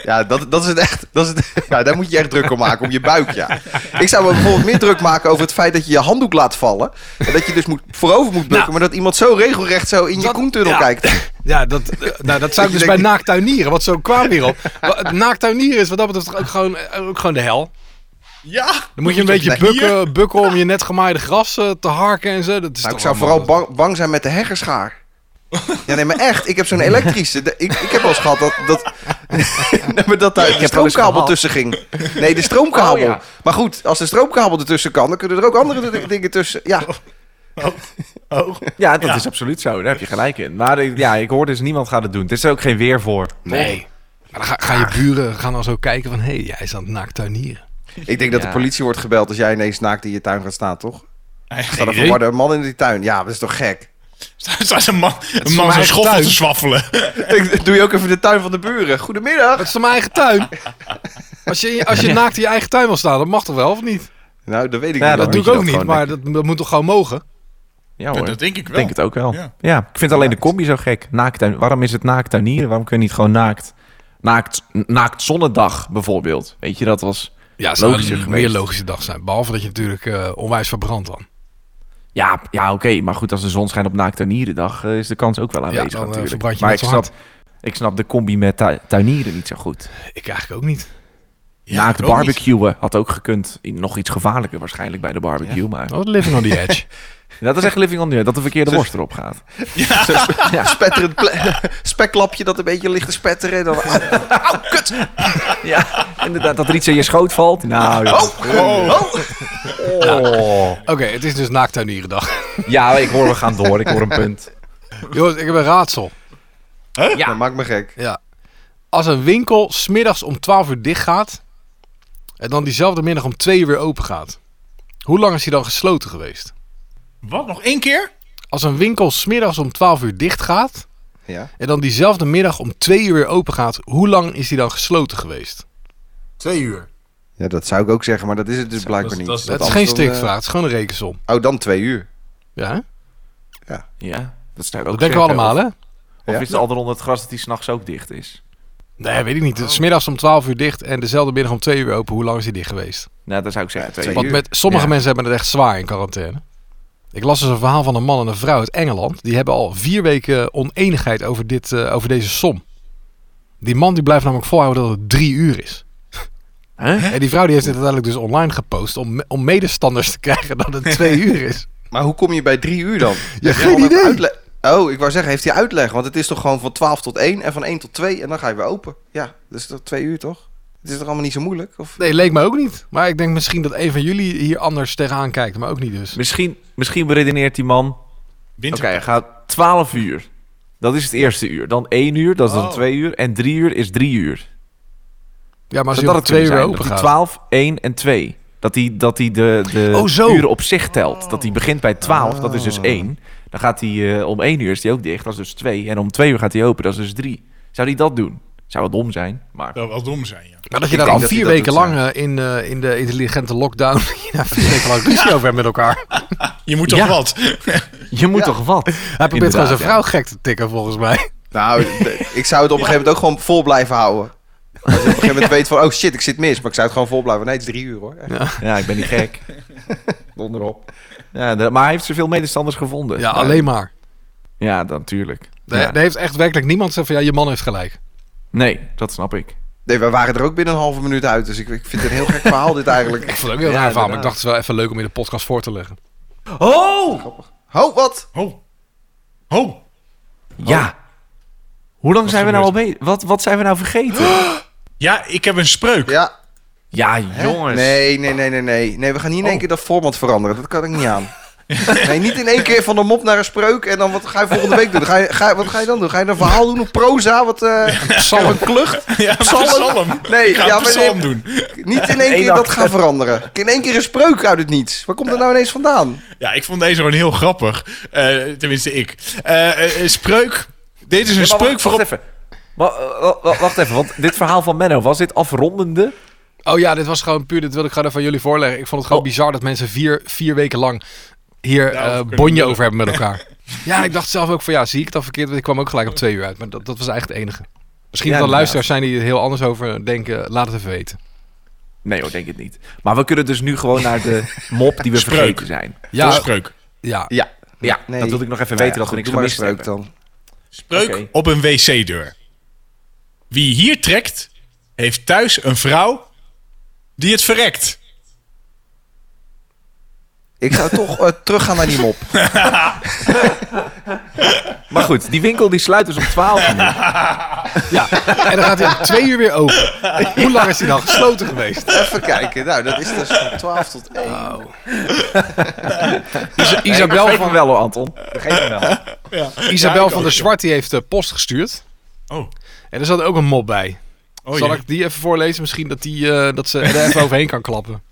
Speaker 5: Ja, dat, dat is het echt. Dat is het, ja, daar moet je echt druk om maken, om je buik, ja. Ik zou me bijvoorbeeld meer druk maken over het feit dat je je handdoek laat vallen. En dat je dus moet, voorover moet bukken,
Speaker 3: Nou.
Speaker 5: maar dat iemand zo regelrecht zo in je
Speaker 3: Dat-
Speaker 5: koentunnel
Speaker 3: ja.
Speaker 5: kijkt.
Speaker 3: Ja, dat, eh, nou, dat zou ik
Speaker 5: Je
Speaker 3: dus bij
Speaker 5: denkt-
Speaker 3: naaktuinieren, want zo kwam hierop. Wa- het Naaktuinieren is wat dat betreft ook gewoon, eh, ook gewoon de hel.
Speaker 2: Ja.
Speaker 3: Dan moet je een beetje bukken, bukken om je net gemaaide gras eh, te harken en zo. Dat is
Speaker 5: Nou,
Speaker 3: toch
Speaker 5: ik zou
Speaker 3: allemaal-
Speaker 5: vooral bang, bang zijn met de heggerschaar. Ja, nee, maar echt. Ik heb zo'n elektrische. de- ik, ik heb wel eens gehad dat, dat, nee, maar dat daar de
Speaker 4: eens
Speaker 5: stroomkabel
Speaker 4: gehad.
Speaker 5: tussen ging. Nee, de stroomkabel.
Speaker 4: Oh, ja.
Speaker 5: Maar goed, als de stroomkabel ertussen kan, dan kunnen er ook andere d- dingen tussen. Ja,
Speaker 2: Oh.
Speaker 4: Ja, dat is absoluut zo. Daar heb je gelijk in. Maar ik- ja, ik hoor dus niemand gaat het doen. Er is er ook geen weer voor.
Speaker 3: Nee. Maar dan ga, gaan je buren gaan dan zo kijken van, hé, hey, jij is aan het naaktuinieren.
Speaker 5: ik denk dat de
Speaker 4: Ja.
Speaker 5: politie wordt gebeld als jij ineens naakt in je tuin gaat staan, toch?
Speaker 2: Nee,
Speaker 5: Staat een
Speaker 2: geen idee.
Speaker 5: verwarde man in die tuin. Ja, dat is toch gek?
Speaker 2: Staat een man, een
Speaker 3: mijn
Speaker 2: man zijn
Speaker 3: eigen
Speaker 2: schoffel
Speaker 3: tuin.
Speaker 2: te zwaffelen.
Speaker 5: Ik doe je ook even de tuin van de buren. Goedemiddag.
Speaker 3: Dat is toch mijn eigen tuin? Als je, als je naakt in je eigen tuin wil staan, dat mag toch wel, of niet?
Speaker 5: Nou, dat weet ik
Speaker 4: Ja,
Speaker 5: niet.
Speaker 4: dat
Speaker 3: Dat doe
Speaker 5: hoor.
Speaker 3: ik
Speaker 4: moet je
Speaker 3: ook
Speaker 4: dat
Speaker 3: niet,
Speaker 4: gewoon
Speaker 3: maar dat, dat moet toch gewoon mogen?
Speaker 4: Ja hoor.
Speaker 2: Dat denk ik wel.
Speaker 4: denk het ook wel.
Speaker 2: Ja.
Speaker 4: Ja. ik vind alleen de combi zo gek. Naaktuin, waarom is het naaktuinieren? Waarom kun je niet gewoon naakt? Naakt, naakt zonnedag bijvoorbeeld. Weet je, dat was...
Speaker 3: Ja,
Speaker 4: zou een meer
Speaker 3: meer logische dag zijn. Behalve dat je natuurlijk eh, onwijs verbrandt dan.
Speaker 4: Ja, ja oké, maar goed, als de zon schijnt op naaktuinierendag... eh, is de kans ook wel aanwezig
Speaker 3: dan, eh,
Speaker 4: natuurlijk.
Speaker 3: verbrand je
Speaker 4: maar
Speaker 3: net
Speaker 4: ik
Speaker 3: zo hard.
Speaker 4: snap, ik snap de combi met tu- tuinieren niet zo goed.
Speaker 3: Ik eigenlijk ook niet.
Speaker 2: Ja,
Speaker 4: naakt
Speaker 2: ik ook niet.
Speaker 4: barbecuen had ook gekund. Nog iets gevaarlijker waarschijnlijk bij de barbecue, maar...
Speaker 3: Oh, living on the edge.
Speaker 4: Dat is echt living on the edge, dat de verkeerde worst erop gaat.
Speaker 5: Ja, spetterend ple- speklapje dat een beetje ligt te spetteren. En dan, au, au, kut.
Speaker 4: Ja, inderdaad, dat er iets in je schoot valt. Nou, ja.
Speaker 5: Oh, oh.
Speaker 4: oh.
Speaker 3: Oké, het is dus naaktuinierendag.
Speaker 4: ja, ik hoor, we gaan door. Ik hoor een punt.
Speaker 3: Jongens, ik heb een raadsel.
Speaker 4: Ja.
Speaker 5: Dat maakt me gek.
Speaker 3: Ja. Als een winkel smiddags om 12 uur dicht gaat en dan diezelfde middag om 2 uur weer open gaat, hoe lang is die dan gesloten geweest?
Speaker 2: Wat, nog één keer?
Speaker 3: Als een winkel smiddags om 12 uur dicht gaat
Speaker 5: Ja.
Speaker 3: en dan diezelfde middag om 2 uur weer open gaat, hoe lang is die dan gesloten geweest?
Speaker 6: Twee uur.
Speaker 5: ja, dat zou ik ook zeggen, maar dat is het dus blijkbaar niet.
Speaker 2: dat is-
Speaker 3: Dat, is
Speaker 5: anders
Speaker 3: geen
Speaker 5: dan,
Speaker 3: strikvraag,
Speaker 5: eh,
Speaker 3: het is gewoon een rekensom.
Speaker 5: Oh, dan twee uur.
Speaker 3: Ja, hè?
Speaker 4: Ja, dat staat ook
Speaker 3: dat denken we allemaal, hè?
Speaker 4: Of
Speaker 5: Ja.
Speaker 4: is de ander onder het gras dat die s'nachts ook dicht is?
Speaker 3: Nee, weet ik niet. Het is middags om 12 uur dicht en dezelfde middag om 2 uur weer open. Hoe lang is die dicht geweest?
Speaker 4: Nou, dat zou ik zeggen. twee
Speaker 5: twee
Speaker 4: uur.
Speaker 3: Want met sommige
Speaker 4: Ja.
Speaker 3: mensen hebben het echt zwaar in quarantaine. Ik las dus een verhaal van een man en een vrouw uit Engeland. Die hebben al vier weken oneenigheid over, dit, eh, over deze som. Die man die blijft namelijk volhouden dat het drie uur is.
Speaker 4: Hè?
Speaker 3: En die vrouw die heeft het uiteindelijk dus online gepost om, me- om medestanders te krijgen dat het twee uur is.
Speaker 5: Maar hoe kom je bij drie uur dan? Heb je
Speaker 3: geen
Speaker 5: al een
Speaker 3: idee.
Speaker 5: uitle- Oh, ik wou zeggen, heeft hij uitleg? Want het is toch gewoon van 12 tot 1 en van 1 tot 2 en dan ga je weer open. Ja, dat is toch twee uur toch? Het is toch allemaal niet zo moeilijk? Of...
Speaker 3: Nee, leek me ook niet. Maar ik denk misschien dat een van jullie hier anders tegenaan kijkt, maar ook niet dus.
Speaker 4: Misschien, misschien beredeneert die man... Oké,
Speaker 2: Winter.
Speaker 4: hij gaat 12 uur. Dat is het eerste uur. Dan 1 uur, dat is dan
Speaker 2: Oh.
Speaker 4: 2 uur. En 3 uur is 3 uur.
Speaker 3: Ja, maar als je
Speaker 4: Zou dat
Speaker 3: om
Speaker 4: het
Speaker 3: twee
Speaker 4: twee
Speaker 3: uur weer
Speaker 4: zijn?
Speaker 3: open
Speaker 4: dat die
Speaker 3: gaat.
Speaker 4: 12, 1 en 2. Dat hij dat die de, de
Speaker 3: Oh, zo. Ah.
Speaker 4: uren op zich telt. Dat hij begint bij 12, dat is dus 1. Dan gaat hij eh, om 1 uur is hij ook dicht, dat is dus 2. En om 2 uur gaat hij open, dat is dus 3. Zou hij dat doen? Zou wel dom zijn, maar...
Speaker 2: Dat zou wel dom zijn, ja.
Speaker 3: Nou, dat je
Speaker 5: Ik
Speaker 3: daar
Speaker 5: denk
Speaker 3: al
Speaker 5: dat
Speaker 3: vier
Speaker 5: hij dat
Speaker 3: weken
Speaker 5: doet,
Speaker 3: lang eh, in, eh, in de intelligente lockdown... je daar vier weken lang ruzie over hebt met elkaar.
Speaker 2: Je moet toch
Speaker 4: Ja.
Speaker 2: wat?
Speaker 4: Je moet
Speaker 5: Ja.
Speaker 4: toch wat?
Speaker 3: Hij probeert gewoon
Speaker 4: Inderdaad,
Speaker 3: zijn
Speaker 4: ja.
Speaker 3: vrouw gek te tikken, volgens mij.
Speaker 5: Nou, d- ik zou het op een gegeven moment ook gewoon vol blijven houden. Als je op een gegeven moment weet van, oh shit, ik zit mis. Maar ik zou het gewoon vol blijven. Nee, het is drie uur hoor. Echt,
Speaker 4: Ja, ik ben niet gek.
Speaker 5: donderop.
Speaker 4: Ja, de- maar hij heeft zoveel medestanders gevonden.
Speaker 3: Ja, alleen maar.
Speaker 4: Ja, dan, natuurlijk.
Speaker 3: Er,
Speaker 4: Ja.
Speaker 3: er heeft echt werkelijk niemand gezegd van... ja, je man heeft gelijk.
Speaker 4: Nee, dat snap ik.
Speaker 5: Nee, we waren er ook binnen een halve minuut uit. Dus ik, ik vind het een heel gek verhaal dit
Speaker 3: Ik
Speaker 5: eigenlijk.
Speaker 3: vond het ook heel
Speaker 4: Ja,
Speaker 3: raar verhaal, maar ik
Speaker 4: inderdaad.
Speaker 3: dacht het is wel even leuk om in de podcast voor te leggen.
Speaker 4: Oh!
Speaker 5: Ho, wat?
Speaker 2: Ho. Ho.
Speaker 4: Ja.
Speaker 3: Oh.
Speaker 4: Hoe lang zijn we nou al
Speaker 2: gebeurt
Speaker 4: mee? Wat, wat zijn we nou vergeten?
Speaker 2: Ja, ik heb een spreuk.
Speaker 5: Ja.
Speaker 4: Ja,
Speaker 5: Hè?
Speaker 4: jongens.
Speaker 5: Nee, nee, nee, nee, nee. Nee, we gaan niet in één
Speaker 2: Oh.
Speaker 5: keer dat format veranderen. Dat kan ik niet aan. Nee, niet in één keer van een mop naar een spreuk en dan wat ga je volgende week doen? Ga je, ga, je- wat ga je dan doen? Ga je een verhaal doen, een proza, wat eh een klucht?
Speaker 2: Ja,
Speaker 5: Psalm?
Speaker 2: psalm.
Speaker 5: Nee,
Speaker 2: ik ga
Speaker 5: ja,
Speaker 2: een
Speaker 5: maar
Speaker 2: psalm
Speaker 5: nee.
Speaker 2: doen.
Speaker 5: Niet in één
Speaker 4: Eén
Speaker 5: keer
Speaker 4: dag.
Speaker 5: dat gaan veranderen. In één keer een spreuk uit het niets. Waar komt dat nou ineens vandaan?
Speaker 2: Ja, ik vond deze gewoon heel grappig. Eh, tenminste, ik. Eh, eh, eh, spreuk. Dit is een
Speaker 4: Maar
Speaker 2: spreuk
Speaker 4: wacht, wacht
Speaker 2: voor...
Speaker 4: even. Wa- wa- wa- Wacht even, want dit verhaal van Menno, was dit afrondende?
Speaker 3: Oh ja, dit was gewoon puur... dit wilde ik gewoon even aan jullie voorleggen. Ik vond het gewoon
Speaker 4: Oh.
Speaker 3: bizar dat mensen vier, vier weken lang... hier
Speaker 2: Daarover
Speaker 3: eh,
Speaker 2: kunnen
Speaker 3: bonje
Speaker 2: lullen.
Speaker 3: over hebben met elkaar. ja, ik dacht zelf ook van... ja, zie ik dat verkeerd? Want ik kwam ook gelijk op twee uur uit. Maar dat, dat was eigenlijk het enige. Misschien
Speaker 4: Ja,
Speaker 3: dat er
Speaker 4: inderdaad.
Speaker 3: luisteraars zijn die er heel anders over denken. Laat het even weten.
Speaker 4: Nee hoor, denk het niet. Maar we kunnen dus nu gewoon naar de mop die we
Speaker 2: Spreuk.
Speaker 4: vergeten zijn.
Speaker 2: Ja.
Speaker 3: Ja,
Speaker 2: spreuk.
Speaker 3: ja.
Speaker 5: Ja.
Speaker 4: Ja,
Speaker 5: Nee.
Speaker 4: dat wilde ik nog even
Speaker 5: Nou
Speaker 4: weten
Speaker 5: ja,
Speaker 4: dat we
Speaker 5: goed,
Speaker 4: niks
Speaker 5: doe maar een
Speaker 4: gemist
Speaker 5: spreuk
Speaker 4: hebben.
Speaker 5: dan.
Speaker 2: Spreuk
Speaker 4: Oké.
Speaker 2: op een wc-deur. Wie hier trekt, heeft thuis een vrouw die het verrekt.
Speaker 5: Ik zou toch eh, teruggaan naar die mop.
Speaker 4: Maar goed, die winkel die sluit dus om 12 uur.
Speaker 3: Ja, en dan gaat hij om twee uur weer open. Hoe lang is hij dan gesloten geweest?
Speaker 5: Even kijken. Nou, dat is dus van 12 tot 1.
Speaker 3: Isabel
Speaker 4: Geef
Speaker 3: van,
Speaker 4: hem wel hoor, Oh, Anton. Geef hem wel.
Speaker 3: Isabel
Speaker 2: Ja, ik
Speaker 3: van
Speaker 2: ook,
Speaker 3: der
Speaker 2: ja.
Speaker 3: Zwart die heeft de post gestuurd.
Speaker 2: Oh.
Speaker 3: En er zat ook een mop bij.
Speaker 2: Oh,
Speaker 3: Zal
Speaker 2: jee.
Speaker 3: ik die even voorlezen? Misschien dat, die, eh, dat ze er even overheen kan klappen.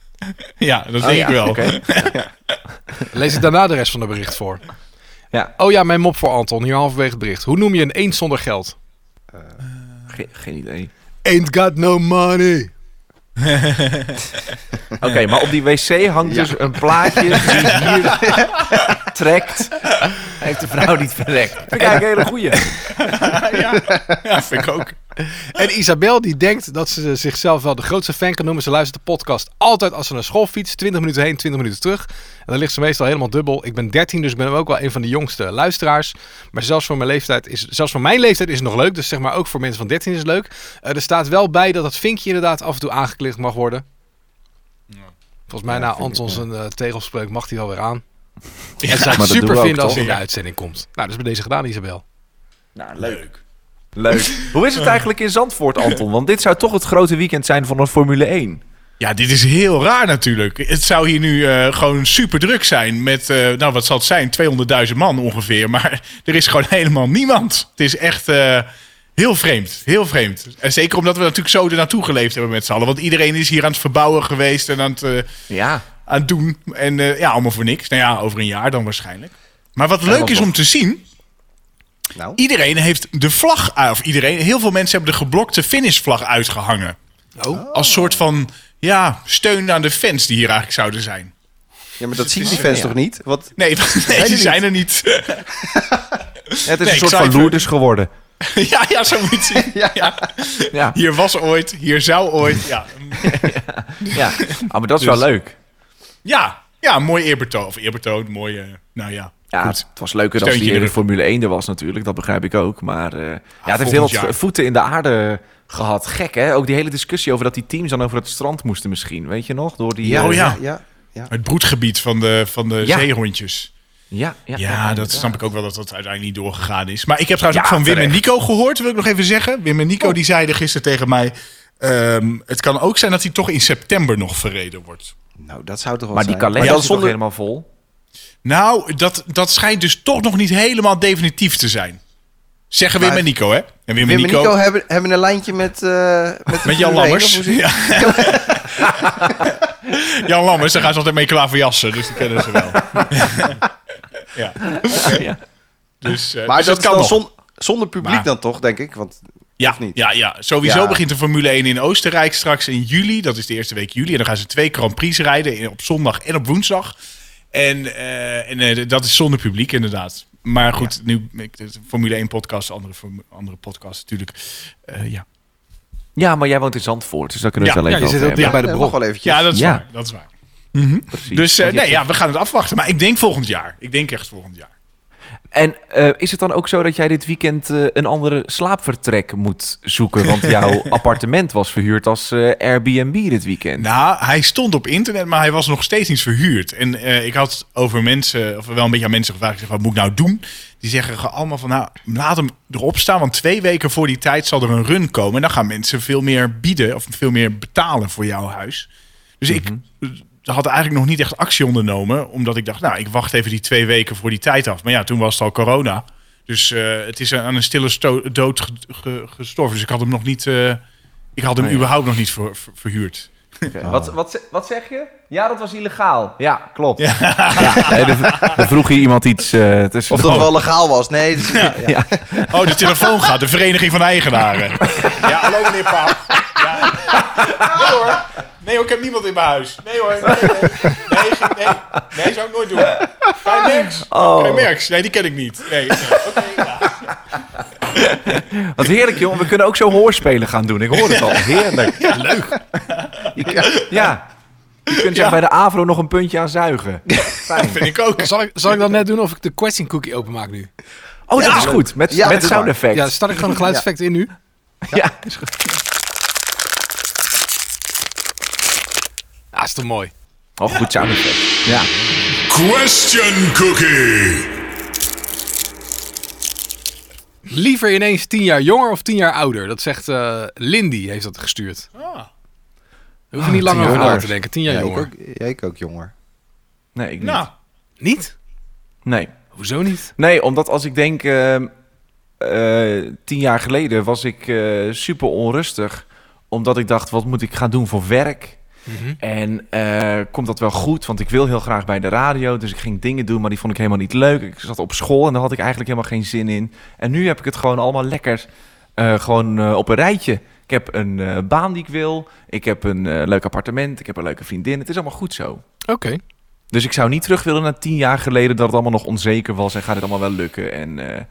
Speaker 2: Ja, dat
Speaker 5: Oh,
Speaker 2: denk
Speaker 5: ja,
Speaker 2: ik wel.
Speaker 5: oké.
Speaker 3: Lees ik daarna de rest van het bericht voor.
Speaker 4: Ja.
Speaker 3: Oh ja, mijn mop voor Anton, hier halverwege het bericht. Hoe noem je een eend zonder geld?
Speaker 4: Ge- geen idee.
Speaker 3: Ain't got no money.
Speaker 4: Oké, maar op die wc hangt dus een plaatje die hier trekt. Hij heeft de vrouw niet verrekt. Vind ik eigenlijk een hele goeie.
Speaker 2: Ja, vind ik ook.
Speaker 3: En Isabel die denkt dat ze zichzelf wel de grootste fan kan noemen. Ze luistert de podcast altijd als ze naar school fietst. 20 minuten heen, 20 minuten terug. En dan ligt ze meestal helemaal dubbel. Ik ben 13, dus ben ook wel een van de jongste luisteraars. Maar zelfs voor mijn leeftijd is, zelfs voor mijn leeftijd is het nog leuk. Dus zeg maar ook voor mensen van 13 is het leuk. Eh, er staat wel bij dat dat vinkje inderdaad af en toe aangeklikt mag worden. Volgens mij na Anton zijn eh, tegelspreuk mag hij wel weer aan. en zou het
Speaker 4: dat doen
Speaker 3: super
Speaker 4: we ook,
Speaker 3: vinden als
Speaker 4: toch?
Speaker 3: hij in de
Speaker 2: Ja.
Speaker 3: uitzending komt. Nou, dus bij deze gedaan, Isabel.
Speaker 4: Nou, leuk. Leuk. Hoe is het eigenlijk in Zandvoort, Anton? Want dit zou toch het grote weekend zijn van een Formule 1.
Speaker 2: Ja, dit is heel raar natuurlijk. Het zou hier nu eh, gewoon super druk zijn met, eh, nou wat zal het zijn, 200.000 man ongeveer. Maar er is gewoon helemaal niemand. Het is echt eh, heel vreemd, heel vreemd. En zeker omdat we natuurlijk zo er naartoe geleefd hebben met z'n allen. Want iedereen is hier aan het verbouwen geweest en aan het, eh,
Speaker 4: Ja.
Speaker 2: aan het doen. En eh, ja, allemaal voor niks. Nou ja, over een jaar dan waarschijnlijk. Maar wat
Speaker 5: wat
Speaker 2: leuk is om
Speaker 5: nog?
Speaker 2: te zien,
Speaker 5: Nou,
Speaker 2: iedereen heeft de vlag, ah, of iedereen, heel veel mensen hebben de geblokte finishvlag uitgehangen. Als soort van, ja, steun aan de fans die hier eigenlijk zouden zijn.
Speaker 5: ja, maar dat zien die fans toch niet? Wat,
Speaker 2: Nee, want- nee die zijn er niet.
Speaker 4: Het is
Speaker 2: Nee,
Speaker 4: een soort
Speaker 2: ik
Speaker 4: van
Speaker 2: zei-
Speaker 4: Loerders geworden.
Speaker 2: ja, ja, zo moet je het zien. Ja.
Speaker 4: Ja.
Speaker 2: Hier was ooit, hier zou ooit. Ja,
Speaker 4: ja. Ah, maar dat is
Speaker 2: Dus-
Speaker 4: wel leuk.
Speaker 2: ja, ja mooi eerbetoon. Of eerbetoon, mooi, eh, nou ja.
Speaker 4: Ja,
Speaker 2: Goed.
Speaker 4: het was leuker als
Speaker 2: Steuntje
Speaker 4: die
Speaker 2: in
Speaker 4: in
Speaker 2: de
Speaker 4: de Formule 1 er was natuurlijk. Dat begrijp ik ook. Maar eh, ja, het heeft heel
Speaker 2: volgend
Speaker 4: wat
Speaker 2: jaar.
Speaker 4: voeten in de aarde gehad. Gek, hè? Ook die hele discussie over dat die teams dan over het strand moesten misschien. Weet je nog? Door die,
Speaker 2: Ja,
Speaker 4: eh,
Speaker 2: oh ja.
Speaker 5: ja, ja.
Speaker 2: Het broedgebied van de, van de
Speaker 4: Ja.
Speaker 2: zeehondjes.
Speaker 4: Ja, ja,
Speaker 2: Ja, dat snap ik ook wel dat dat uiteindelijk niet doorgegaan is. Maar ik heb trouwens
Speaker 4: Ja,
Speaker 2: ook van Wim en
Speaker 4: terecht.
Speaker 2: Nico gehoord, wil ik nog even zeggen. Wim en Nico
Speaker 5: Oh.
Speaker 2: die zeiden gisteren tegen mij... ehm, het kan ook zijn dat hij toch in september nog verreden wordt.
Speaker 5: Nou, dat zou toch wel
Speaker 4: Maar die
Speaker 5: zijn.
Speaker 4: kalender
Speaker 5: dan
Speaker 4: is nog
Speaker 5: zonder-
Speaker 4: helemaal vol.
Speaker 2: Nou, dat, dat schijnt dus toch nog niet helemaal definitief te zijn. Zeggen Wim
Speaker 5: Maar-
Speaker 2: en Nico, hè? En Wim,
Speaker 5: Wim en Nico hebben, hebben een lijntje met... eh, met,
Speaker 2: Met Jan Lammers.
Speaker 5: Ja.
Speaker 2: Ja. Jan Lammers, daar gaan ze altijd mee klaverjassen. Dus die kennen ze wel. ja.
Speaker 4: Ja.
Speaker 2: Dus, eh,
Speaker 5: Maar
Speaker 2: dus
Speaker 5: dat,
Speaker 2: kan
Speaker 5: kan
Speaker 2: nog.
Speaker 5: zon- zonder publiek
Speaker 2: Maar-
Speaker 5: dan toch, denk ik. Want
Speaker 2: ja,
Speaker 5: of niet?
Speaker 2: ja, ja, sowieso
Speaker 5: Ja.
Speaker 2: begint de Formule 1 in Oostenrijk straks in juli. Dat is de eerste week juli. En dan gaan ze twee Grand Prix rijden in- op zondag en op woensdag. En, eh, en eh, dat is zonder publiek inderdaad. Maar goed, nu ik- de Formule 1 podcast, andere, formu- andere podcast natuurlijk. Eh, ja.
Speaker 4: Ja, maar jij woont in Zandvoort, dus daar kunnen we
Speaker 2: Ja,
Speaker 4: het wel
Speaker 3: ja, je
Speaker 4: even
Speaker 3: zit
Speaker 4: over
Speaker 3: ook
Speaker 2: Ja,
Speaker 5: ja,
Speaker 3: dicht bij
Speaker 5: eh,
Speaker 3: de
Speaker 5: nog
Speaker 3: bron.
Speaker 5: wel eventjes.
Speaker 2: ja, dat is
Speaker 4: Ja.
Speaker 2: waar. Dat is waar.
Speaker 4: hebben, precies.
Speaker 2: Dus eh,
Speaker 4: Want je
Speaker 2: nee,
Speaker 4: hebt-
Speaker 2: ja, we gaan het afwachten. Maar ik denk volgend jaar. Ik denk echt volgend jaar.
Speaker 4: En eh, is het dan ook zo dat jij dit weekend eh, een andere slaapvertrek moet zoeken? Want jouw appartement was verhuurd als eh, Airbnb dit weekend.
Speaker 2: Nou, hij stond op internet, maar hij was nog steeds niet verhuurd. En eh, ik had over mensen, of wel een beetje aan mensen gevraagd, ik zeg, wat moet ik nou doen? Die zeggen gewoon allemaal van, nou, laat hem erop staan, want twee weken voor die tijd zal er een run komen. En dan gaan mensen veel meer bieden, of veel meer betalen voor jouw huis. Dus ik eh, had eigenlijk nog niet echt actie ondernomen, omdat ik dacht, nou, ik wacht even die twee weken voor die tijd af. Maar ja, toen was het al corona. Dus eh, het is aan een stille sto- dood ge- ge- gestorven. Dus ik had hem nog niet, eh, ik had hem überhaupt nog niet ver- ver- verhuurd.
Speaker 4: Oké, Wat, wat, ze- wat zeg je? Ja, dat was illegaal. Ja, klopt. Ja. nee, daar- daar vroeg hier iemand iets eh tussen.
Speaker 5: Of dat wel legaal was. Nee, dat is- ja.
Speaker 2: Oh, de telefoon gaat. De Vereniging van Eigenaren. Ja, hallo meneer Paal. Ja. Nee hoor. Nee hoor, ik heb niemand in mijn huis. Nee hoor. Nee, nee. Nee, nee, nee, zou ik nooit doen. Bij Merks. Bij Merks. Nee, die ken ik niet. Nee. nee. Oké, ja.
Speaker 4: Wat heerlijk, jongen. We kunnen ook zo hoorspelen gaan doen. Ik hoor het al. Heerlijk.
Speaker 2: leuk.
Speaker 4: Ja. Je kunt
Speaker 2: Ja.
Speaker 4: zich bij de AVRO nog een puntje aan zuigen.
Speaker 2: Vind ik ook.
Speaker 3: Zal ik, zal ik dan net doen of ik de question cookie openmaak nu?
Speaker 4: Oh, dat is goed. Met,
Speaker 5: Ja,
Speaker 4: met
Speaker 5: doe
Speaker 4: sound
Speaker 5: maar.
Speaker 4: effects.
Speaker 3: Ja, start ik gewoon een geluidseffect in nu.
Speaker 4: Ja, is goed.
Speaker 3: Ah, is toch mooi.
Speaker 4: Oh, goed sound effect. Ja.
Speaker 2: Question Cookie.
Speaker 3: Liever ineens tien jaar jonger of tien jaar ouder? Dat zegt eh, Lindy, heeft dat gestuurd.
Speaker 2: Ah.
Speaker 3: We hoeven niet langer
Speaker 5: tien
Speaker 3: over
Speaker 5: jaar
Speaker 3: na te
Speaker 5: ouder.
Speaker 3: denken. Ah, Tien jaar
Speaker 5: ik,
Speaker 3: jonger.
Speaker 5: ook, ja, ik ook jonger.
Speaker 4: Nee, ik niet.
Speaker 2: Nou,
Speaker 3: Niet?
Speaker 4: Nee.
Speaker 3: Hoezo niet?
Speaker 4: Nee, omdat als ik denk, ehm, eh, tien jaar geleden was ik eh, super onrustig. Omdat ik dacht, wat moet ik gaan doen voor werk? En eh, komt dat wel goed? Want ik wil heel graag bij de radio. Dus ik ging dingen doen, maar die vond ik helemaal niet leuk. Ik zat op school en daar had ik eigenlijk helemaal geen zin in. En nu heb ik het gewoon allemaal lekker eh, gewoon, eh, op een rijtje. Ik heb een eh, baan die ik wil. Ik heb een eh, leuk appartement. Ik heb een leuke vriendin. Het is allemaal goed zo.
Speaker 3: Oké.
Speaker 4: Dus ik zou niet terug willen naar tien jaar geleden dat het allemaal nog onzeker was. En gaat het allemaal wel lukken? En eh,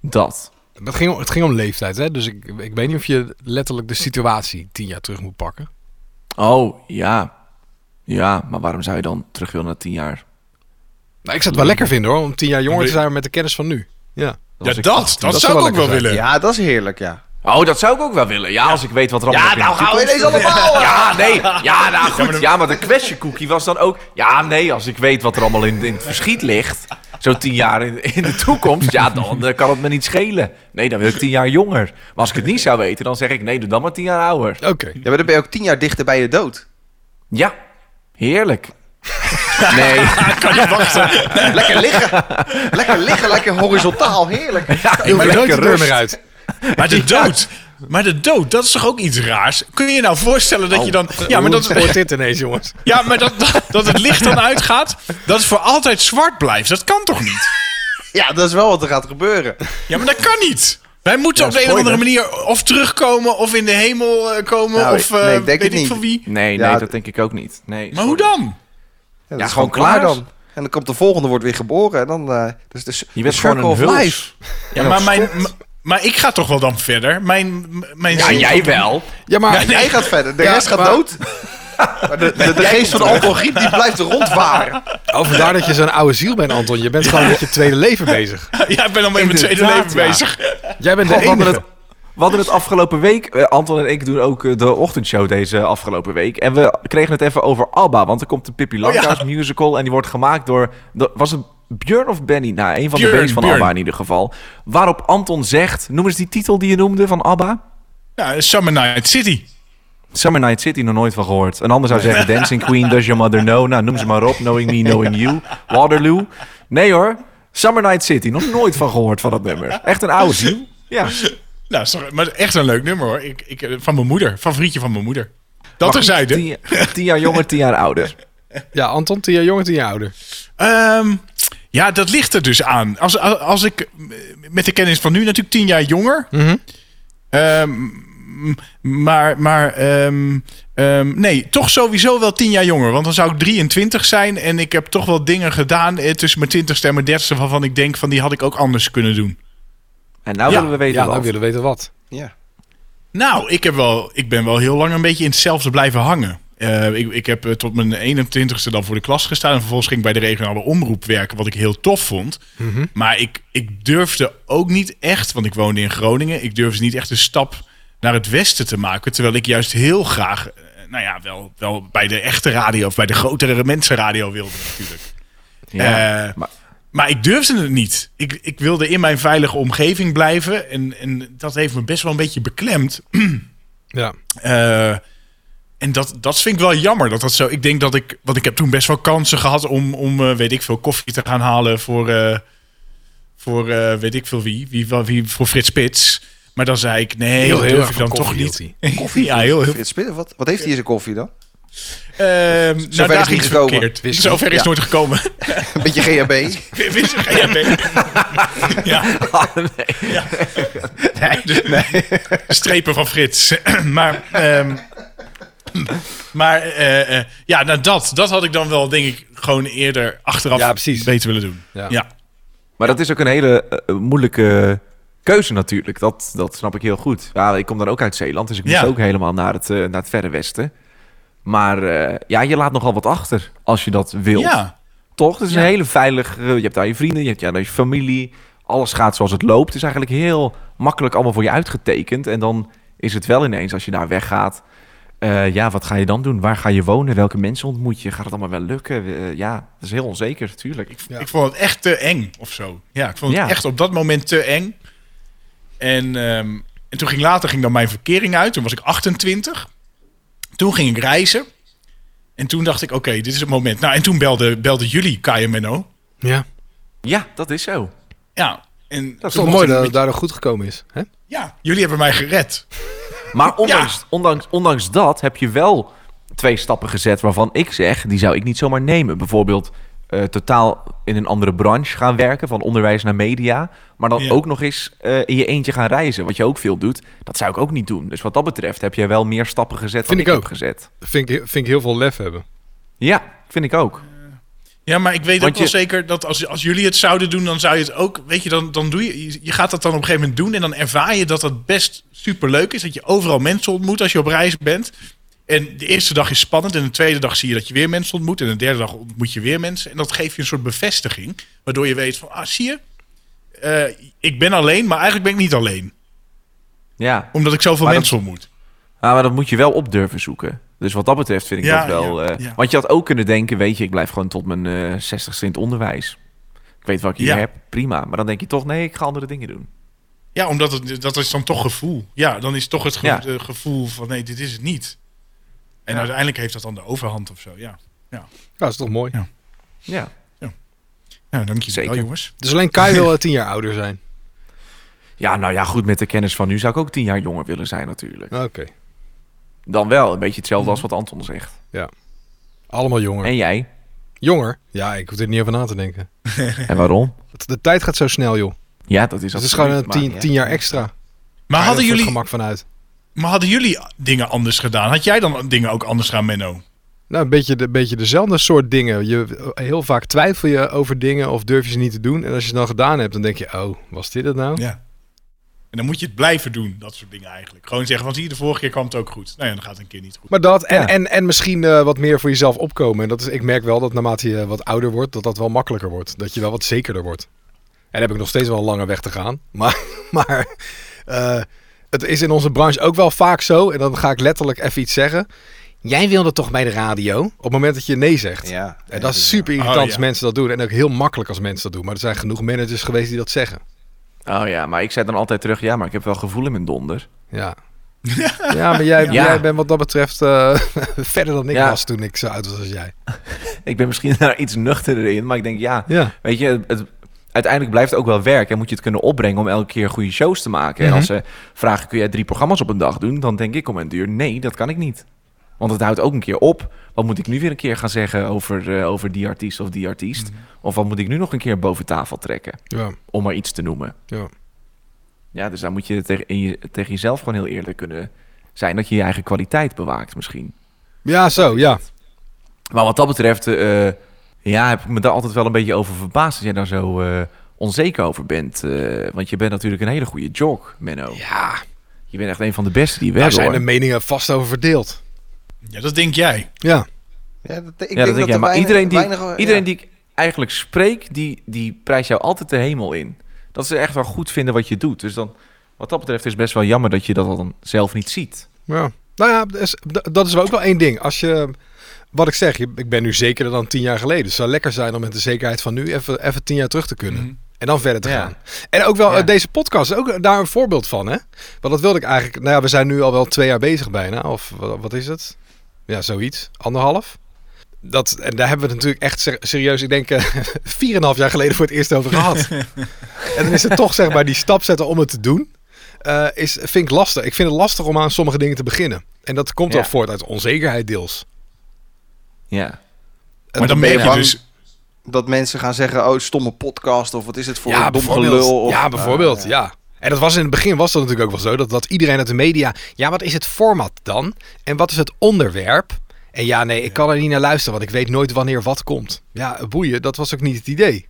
Speaker 4: dat.
Speaker 3: Dat ging, om- het ging om leeftijd, hè? Dus ik, ik weet niet of je letterlijk de situatie tien jaar terug moet pakken.
Speaker 4: Oh, ja. Ja, maar waarom zou je dan terug willen naar tien jaar?
Speaker 3: Nou, ik zou het wel lekker vinden hoor, om tien jaar jonger
Speaker 2: Dan
Speaker 3: te
Speaker 2: ben
Speaker 3: zijn met de kennis van nu. Ja.
Speaker 2: Ja, dat,
Speaker 4: ik
Speaker 2: dat,
Speaker 3: Dat zou
Speaker 2: zou ik
Speaker 3: wel
Speaker 2: ook wel
Speaker 3: lekker
Speaker 2: willen.
Speaker 5: Ja, dat is heerlijk, ja.
Speaker 4: Oh, dat zou ik ook wel willen. Ja, nou, als ik weet wat er allemaal nog in de
Speaker 5: we ineens allemaal...
Speaker 4: Ja, nee. Ja, nou goed. Ja, maar de question cookie was dan ook... Ja, nee, als ik weet wat er allemaal in, in het verschiet ligt... zo tien jaar in, in de toekomst... ja, dan eh, kan het me niet schelen. Nee, dan wil ik tien jaar jonger. Maar als ik het niet zou weten, dan zeg ik... nee, doe dan maar tien jaar ouder.
Speaker 3: Oké.
Speaker 5: Ja, maar dan ben je ook tien jaar dichter bij je dood.
Speaker 4: Ja, heerlijk. Nee,
Speaker 5: Lekker liggen. lekker liggen, lekker horizontaal, heerlijk.
Speaker 3: Ik ben nooit de
Speaker 4: lekker
Speaker 3: deur
Speaker 4: rust.
Speaker 3: meer uit.
Speaker 2: Maar de dood. Maar de dood, dat is toch ook iets raars? Kun je je nou voorstellen dat je dan...
Speaker 3: Eh,
Speaker 2: Ja, maar dat,
Speaker 3: wordt dit ineens, jongens.
Speaker 2: ja, maar dat, dat, dat het licht dan uitgaat, dat het voor altijd zwart blijft. Dat kan toch niet?
Speaker 5: Ja, dat is wel wat er gaat gebeuren.
Speaker 2: Ja, maar dat kan niet. Wij moeten
Speaker 4: Ja,
Speaker 2: op de een of andere
Speaker 4: spoiler.
Speaker 2: manier of terugkomen of in de hemel eh, komen
Speaker 5: Nou,
Speaker 2: of eh,
Speaker 5: nee, ik denk
Speaker 2: weet
Speaker 5: het
Speaker 2: ik
Speaker 5: niet.
Speaker 2: van wie.
Speaker 4: nee,
Speaker 5: Ja,
Speaker 4: nee dat denk ik ook niet. Nee,
Speaker 2: Maar hoe dan?
Speaker 5: Ja,
Speaker 4: Ja,
Speaker 5: dat is
Speaker 4: gewoon
Speaker 5: gewoon klaar
Speaker 4: klaar.
Speaker 5: dan. En dan komt de volgende, wordt weer geboren. En dan, eh dus, dus,
Speaker 4: Je bent gewoon een
Speaker 5: life.
Speaker 4: huls.
Speaker 2: Ja, maar, mijn, m- maar ik ga toch wel dan verder? Mijn, m- mijn
Speaker 4: Ja,
Speaker 2: ziel-
Speaker 4: jij wel.
Speaker 3: Ja, maar
Speaker 5: Jij gaat verder, de
Speaker 3: Ja,
Speaker 5: rest gaat
Speaker 3: maar-
Speaker 5: dood. Maar de, de, de geest van Anton Giep die blijft rondvaren.
Speaker 3: oh, vandaar dat je zo'n oude ziel bent, Anton. Je bent gewoon met je tweede leven bezig.
Speaker 2: Ja, ik ben al met mijn tweede
Speaker 4: Inderdaad,
Speaker 2: leven
Speaker 4: ja.
Speaker 2: bezig.
Speaker 3: Jij bent de
Speaker 4: God, we, hadden het,
Speaker 3: enige.
Speaker 4: we hadden het afgelopen week. eh, Anton en ik doen ook eh, de ochtendshow deze afgelopen week. En we kregen het even over ABBA. Want er komt een
Speaker 2: Oh
Speaker 4: Pippi Langkous musical. En die wordt gemaakt door. de- Was het Björn of Benny? Nou, een van de
Speaker 2: Björn,
Speaker 4: bands van
Speaker 2: Björn.
Speaker 4: ABBA in ieder geval. Waarop Anton zegt. Noem eens die titel die je noemde van ABBA.
Speaker 2: Ja, Summer Night City.
Speaker 4: Summer Night City nog nooit van gehoord. Een ander zou zeggen Dancing Queen, Does Your Mother Know? Nou, noem ze maar op. Knowing Me, Knowing You. Waterloo. Nee hoor. Summer Night City, nog nooit van gehoord van dat nummer. Echt een oude ziel. Ja.
Speaker 2: Nou, sorry, maar echt een leuk nummer hoor. Ik, ik, eh, van mijn moeder, favorietje van mijn moeder. Dat
Speaker 4: Maar goed,
Speaker 2: terzijde.
Speaker 4: Tien, tien jaar jonger, tien jaar ouder.
Speaker 3: Ja, Anton, tien jaar jonger, tien jaar ouder.
Speaker 2: Ehm, ja, dat ligt er dus aan. Als, als, als ik eh, met de kennis van nu natuurlijk tien jaar jonger. Ehm, m- maar maar ehm, ehm, nee, toch sowieso wel tien jaar jonger. Want dan zou ik 23 zijn. En ik heb toch wel dingen gedaan eh, tussen mijn 20ste en mijn 30ste. Waarvan ik denk van die had ik ook anders kunnen doen.
Speaker 4: En nou
Speaker 2: Ja,
Speaker 4: willen we weten
Speaker 3: Ja,
Speaker 4: wat.
Speaker 3: nou willen we weten wat.
Speaker 5: Ja.
Speaker 2: Nou, ik, heb wel, ik ben wel heel lang een beetje in hetzelfde blijven hangen. Eh, ik, ik heb eh, tot mijn 21ste dan voor de klas gestaan. En vervolgens ging ik bij de regionale omroep werken, wat ik heel tof vond.
Speaker 4: Mhm.
Speaker 2: Maar ik, ik durfde ook niet echt, want ik woonde in Groningen. Ik durfde niet echt een stap naar het westen te maken. Terwijl ik juist heel graag, eh, nou ja, wel, wel bij de echte radio of bij de grotere mensenradio wilde natuurlijk.
Speaker 4: Ja,
Speaker 2: Eh,
Speaker 4: maar-
Speaker 2: Maar ik durfde het niet. Ik, ik wilde in mijn veilige omgeving blijven. En, en dat heeft me best wel een beetje beklemd.
Speaker 3: Ja.
Speaker 2: Eh, en dat, dat vind ik wel jammer. Dat dat zo, ik denk dat ik. Want ik heb toen best wel kansen gehad om, om eh, weet ik veel, koffie te gaan halen voor. eh, voor eh, weet ik veel wie, wie, wa- wie. Voor Frits Spits. Maar dan zei ik: nee,
Speaker 3: Heel,
Speaker 2: dat
Speaker 3: heel
Speaker 2: durf
Speaker 3: erg
Speaker 2: ik
Speaker 3: van
Speaker 2: dan toch
Speaker 3: koffie
Speaker 2: niet.
Speaker 3: hield
Speaker 2: Koffie? Ja, heel heel.
Speaker 5: Frits Spitten, wat, wat heeft hij in zijn koffie dan?
Speaker 2: Ehm, nou, daar
Speaker 5: niet
Speaker 2: ging het
Speaker 5: gekomen.
Speaker 2: verkeerd.
Speaker 3: Whisky.
Speaker 2: Zover is
Speaker 5: Ja.
Speaker 2: het nooit gekomen.
Speaker 5: Een beetje GHB.
Speaker 2: Wist je, ja, ben- ja,
Speaker 4: Ah, nee.
Speaker 2: strepen van Frits. maar ehm, maar eh, eh, ja, nou dat, dat had ik dan wel, denk ik, gewoon eerder achteraf
Speaker 3: Ja, precies.
Speaker 2: beter willen doen.
Speaker 3: Ja.
Speaker 2: ja.
Speaker 4: Maar dat is ook een hele eh, moeilijke keuze natuurlijk. Dat, dat snap ik heel goed. Ja, ik kom dan ook uit Zeeland, dus ik moest
Speaker 2: Ja.
Speaker 4: ook helemaal naar het, eh, naar het verre westen. Maar eh, ja, je laat nogal wat achter als je dat wilt.
Speaker 2: Ja,
Speaker 4: Toch? Het is een hele veilig... eh, je hebt daar je vrienden, je hebt daar je familie. Alles gaat zoals het loopt. Het is eigenlijk heel makkelijk allemaal voor je uitgetekend. En dan is het wel ineens, als je daar weggaat... eh, ja, wat ga je dan doen? Waar ga je wonen? Welke mensen ontmoet je? Gaat het allemaal wel lukken? Eh, ja, dat is heel onzeker, tuurlijk.
Speaker 3: Ja.
Speaker 2: ik vond het echt te eng of zo. Ja, ik vond het
Speaker 4: Ja.
Speaker 2: echt op dat moment te eng. En, ehm, en toen ging later ging dan mijn verkering uit. Toen was ik 28. Toen ging ik reizen. En toen dacht ik, oké, dit is het moment. Nou, en toen belde, belden jullie Kai en Menno.
Speaker 3: Ja.
Speaker 4: Ja, dat is zo.
Speaker 2: Ja, en
Speaker 3: Dat is toch mooi dat het daardoor goed gekomen is. Hè?
Speaker 2: ja, jullie hebben mij gered.
Speaker 4: Maar ondanks, ondanks, ondanks dat heb je wel twee stappen gezet waarvan ik zeg, die zou ik niet zomaar nemen. Bijvoorbeeld eh, totaal in een andere branche gaan werken, van onderwijs naar media. Maar dan
Speaker 2: Ja.
Speaker 4: ook nog eens eh, in je eentje gaan reizen, wat je ook veel doet. Dat zou ik ook niet doen. Dus wat dat betreft heb jij wel meer stappen gezet
Speaker 3: Vind
Speaker 4: dan
Speaker 3: ik
Speaker 4: ik heb
Speaker 3: ook.
Speaker 4: gezet.
Speaker 3: Vind ik, vind ik heel veel lef hebben.
Speaker 4: Ja, vind ik ook.
Speaker 2: Ja, maar ik weet
Speaker 4: Want
Speaker 2: ook wel
Speaker 4: je-
Speaker 2: zeker dat als, als jullie het zouden doen, dan zou je het ook. Weet je, dan, dan doe je. je- Je gaat dat dan op een gegeven moment doen. En dan ervaar je dat dat best superleuk is. Dat je overal mensen ontmoet als je op reis bent. En de eerste dag is spannend. En de tweede dag zie je dat je weer mensen ontmoet. En de derde dag ontmoet je weer mensen. En dat geeft je een soort bevestiging. Waardoor je weet van, ah, zie je. eh, ik ben alleen, maar eigenlijk ben ik niet alleen.
Speaker 4: Ja.
Speaker 2: Omdat ik zoveel
Speaker 4: Maar dat-
Speaker 2: mensen ontmoet.
Speaker 4: Ah, maar dat moet je wel op durven zoeken. Dus wat dat betreft vind ik
Speaker 2: Ja,
Speaker 4: dat wel.
Speaker 2: ja,
Speaker 4: eh,
Speaker 2: ja.
Speaker 4: Want je had ook kunnen denken, weet je, ik blijf gewoon tot mijn eh 60ste in het onderwijs. Ik weet wat ik hier
Speaker 2: Ja.
Speaker 4: heb, prima. Maar dan denk je toch, nee, ik ga andere dingen doen.
Speaker 2: Ja, omdat het, dat is dan toch gevoel. Ja, dan is toch het ge-
Speaker 4: Ja.
Speaker 2: eh, gevoel van nee, dit is het niet. En
Speaker 4: Ja.
Speaker 2: uiteindelijk heeft dat dan de overhand of zo. Ja,
Speaker 3: Ja, dat is toch mooi.
Speaker 2: Ja.
Speaker 4: Ja.
Speaker 2: nou, dank je wel,
Speaker 4: Zeker.
Speaker 2: jongens.
Speaker 3: Dus alleen Kai wil eh, tien jaar ouder zijn.
Speaker 4: Ja, nou ja, goed, met de kennis van nu zou ik ook tien jaar jonger willen zijn natuurlijk.
Speaker 3: Oké.
Speaker 4: Dan wel, een beetje hetzelfde
Speaker 2: Mhm.
Speaker 4: als wat Anton zegt.
Speaker 3: Allemaal jonger.
Speaker 4: En jij?
Speaker 3: Jonger? Ja, ik hoef er niet over na te denken.
Speaker 4: En waarom?
Speaker 3: Het- De tijd gaat zo snel, joh.
Speaker 4: Ja, dat
Speaker 3: Dus
Speaker 4: is
Speaker 3: het is
Speaker 4: absoluut,
Speaker 3: gewoon een
Speaker 4: maar-
Speaker 3: tien, tien jaar extra.
Speaker 2: Maar
Speaker 3: Daar
Speaker 2: hadden,
Speaker 3: is het
Speaker 2: jullie,
Speaker 3: gemak vanuit.
Speaker 2: maar hadden jullie dingen anders gedaan? Had jij dan dingen ook anders gedaan, Menno?
Speaker 3: Nou, een beetje, de, een beetje dezelfde soort dingen. Je, heel vaak twijfel je over dingen of durf je ze niet te doen. En als je het dan gedaan hebt, dan denk je, oh, was dit het nou?
Speaker 2: Ja. En dan moet je het blijven doen, dat soort dingen eigenlijk. Gewoon zeggen van zie je, de vorige keer kwam het ook goed. Nou ja, dan gaat het een keer niet goed.
Speaker 3: Maar dat, en,
Speaker 4: Ja.
Speaker 3: en, en misschien eh, wat meer voor jezelf opkomen. En dat is, ik merk wel dat naarmate je wat ouder wordt, dat dat wel makkelijker wordt. Dat je wel wat zekerder wordt. En daar heb ik nog steeds wel een lange weg te gaan. Maar, maar eh, het is in onze branche ook wel vaak zo. En dan ga ik letterlijk even iets zeggen. Jij wilde toch bij de radio? Op het moment dat je nee zegt.
Speaker 5: Ja.
Speaker 3: En dat is super irritant
Speaker 2: Oh,
Speaker 3: als
Speaker 2: ja.
Speaker 3: mensen dat doen. En ook heel makkelijk als mensen dat doen. Maar er zijn genoeg managers geweest die dat zeggen.
Speaker 4: Oh ja, maar ik zei dan altijd terug, ja, maar ik heb wel gevoel in mijn donder.
Speaker 3: Ja. ja, maar jij,
Speaker 2: Ja.
Speaker 3: jij bent wat dat betreft eh, verder dan ik
Speaker 4: Ja.
Speaker 3: was toen ik zo oud was als jij.
Speaker 4: Ik ben misschien daar iets nuchterder in, maar ik denk, ja,
Speaker 3: Ja.
Speaker 4: Weet je, het, uiteindelijk blijft het ook wel werk en moet je het kunnen opbrengen om elke keer goede shows te maken. En als ze vragen, kun jij drie programma's op een dag doen? Dan denk ik om een duur, nee, dat kan ik niet. Want het houdt ook een keer op. Wat moet ik nu weer een keer gaan zeggen over, eh, over die artiest of die artiest? Of wat moet ik nu nog een keer boven tafel trekken?
Speaker 3: Ja,
Speaker 4: Om maar iets te noemen.
Speaker 3: ja.
Speaker 4: Ja, dus daar moet je tegen, in je- tegen jezelf gewoon heel eerlijk kunnen zijn. Dat je je eigen kwaliteit bewaakt misschien.
Speaker 3: Ja, zo, ja.
Speaker 4: Maar wat dat betreft, eh, ja, heb ik me daar altijd wel een beetje over verbaasd dat jij daar zo eh, onzeker over bent. eh, want je bent natuurlijk een hele goede jog, Menno.
Speaker 3: Ja,
Speaker 4: Je bent echt een van de beste die we
Speaker 3: daar
Speaker 5: Nou,
Speaker 4: hebben.
Speaker 3: zijn de
Speaker 4: hoor.
Speaker 3: meningen vast over verdeeld.
Speaker 2: Ja, dat denk jij.
Speaker 3: Ja,
Speaker 5: Ja, dat, ik
Speaker 4: ja, dat
Speaker 5: denk
Speaker 4: denk
Speaker 5: dat
Speaker 4: jij. Maar
Speaker 5: er weinig-
Speaker 4: iedereen, die,
Speaker 5: weinig-
Speaker 4: iedereen
Speaker 5: ja.
Speaker 4: die ik eigenlijk spreek, die, die prijst jou altijd de hemel in. Dat ze echt wel goed vinden wat je doet. Dus dan, wat dat betreft is het best wel jammer dat je dat dan zelf niet ziet.
Speaker 3: ja. Nou ja, dat is- d- dat is wel ook wel één ding. Als je, wat ik zeg, je- ik ben nu zekerder dan tien jaar geleden. Het zou lekker zijn om met de zekerheid van nu even, even tien jaar terug te kunnen. En dan verder te
Speaker 4: Mhm. Ja.
Speaker 3: gaan. En ook wel
Speaker 4: Ja.
Speaker 3: eh, deze podcast, is ook daar een voorbeeld van, hè? Want dat wilde ik eigenlijk. Nou ja, we zijn nu al wel twee jaar bezig bijna. Of wat, wat is het? Ja, zoiets. Anderhalf. Dat, en daar hebben we het natuurlijk echt ser- serieus, ik denk, eh, 4,5 jaar geleden voor het eerst over gehad. en dan is het toch, zeg maar, die stap zetten om het te doen. eh, is, vind ik lastig. Ik vind het lastig om aan sommige dingen te beginnen. En dat komt
Speaker 4: Ja.
Speaker 3: ook voort uit onzekerheid deels.
Speaker 4: Ja.
Speaker 2: Maar dan
Speaker 5: ben je
Speaker 2: merk je
Speaker 5: bang.
Speaker 2: dus...
Speaker 5: Dat mensen gaan zeggen, oh, stomme podcast. Of wat is het voor een dom
Speaker 3: bijvoorbeeld.
Speaker 5: gelul. Of, eh,
Speaker 3: ja, bijvoorbeeld, ja. En dat was in het begin was dat natuurlijk ook wel zo. Dat, dat iedereen uit de media... Ja, wat is het format dan? En wat is het onderwerp? En ja, nee, ik kan er niet naar luisteren, want ik weet nooit wanneer wat komt. Ja, boeien, dat was ook niet het idee.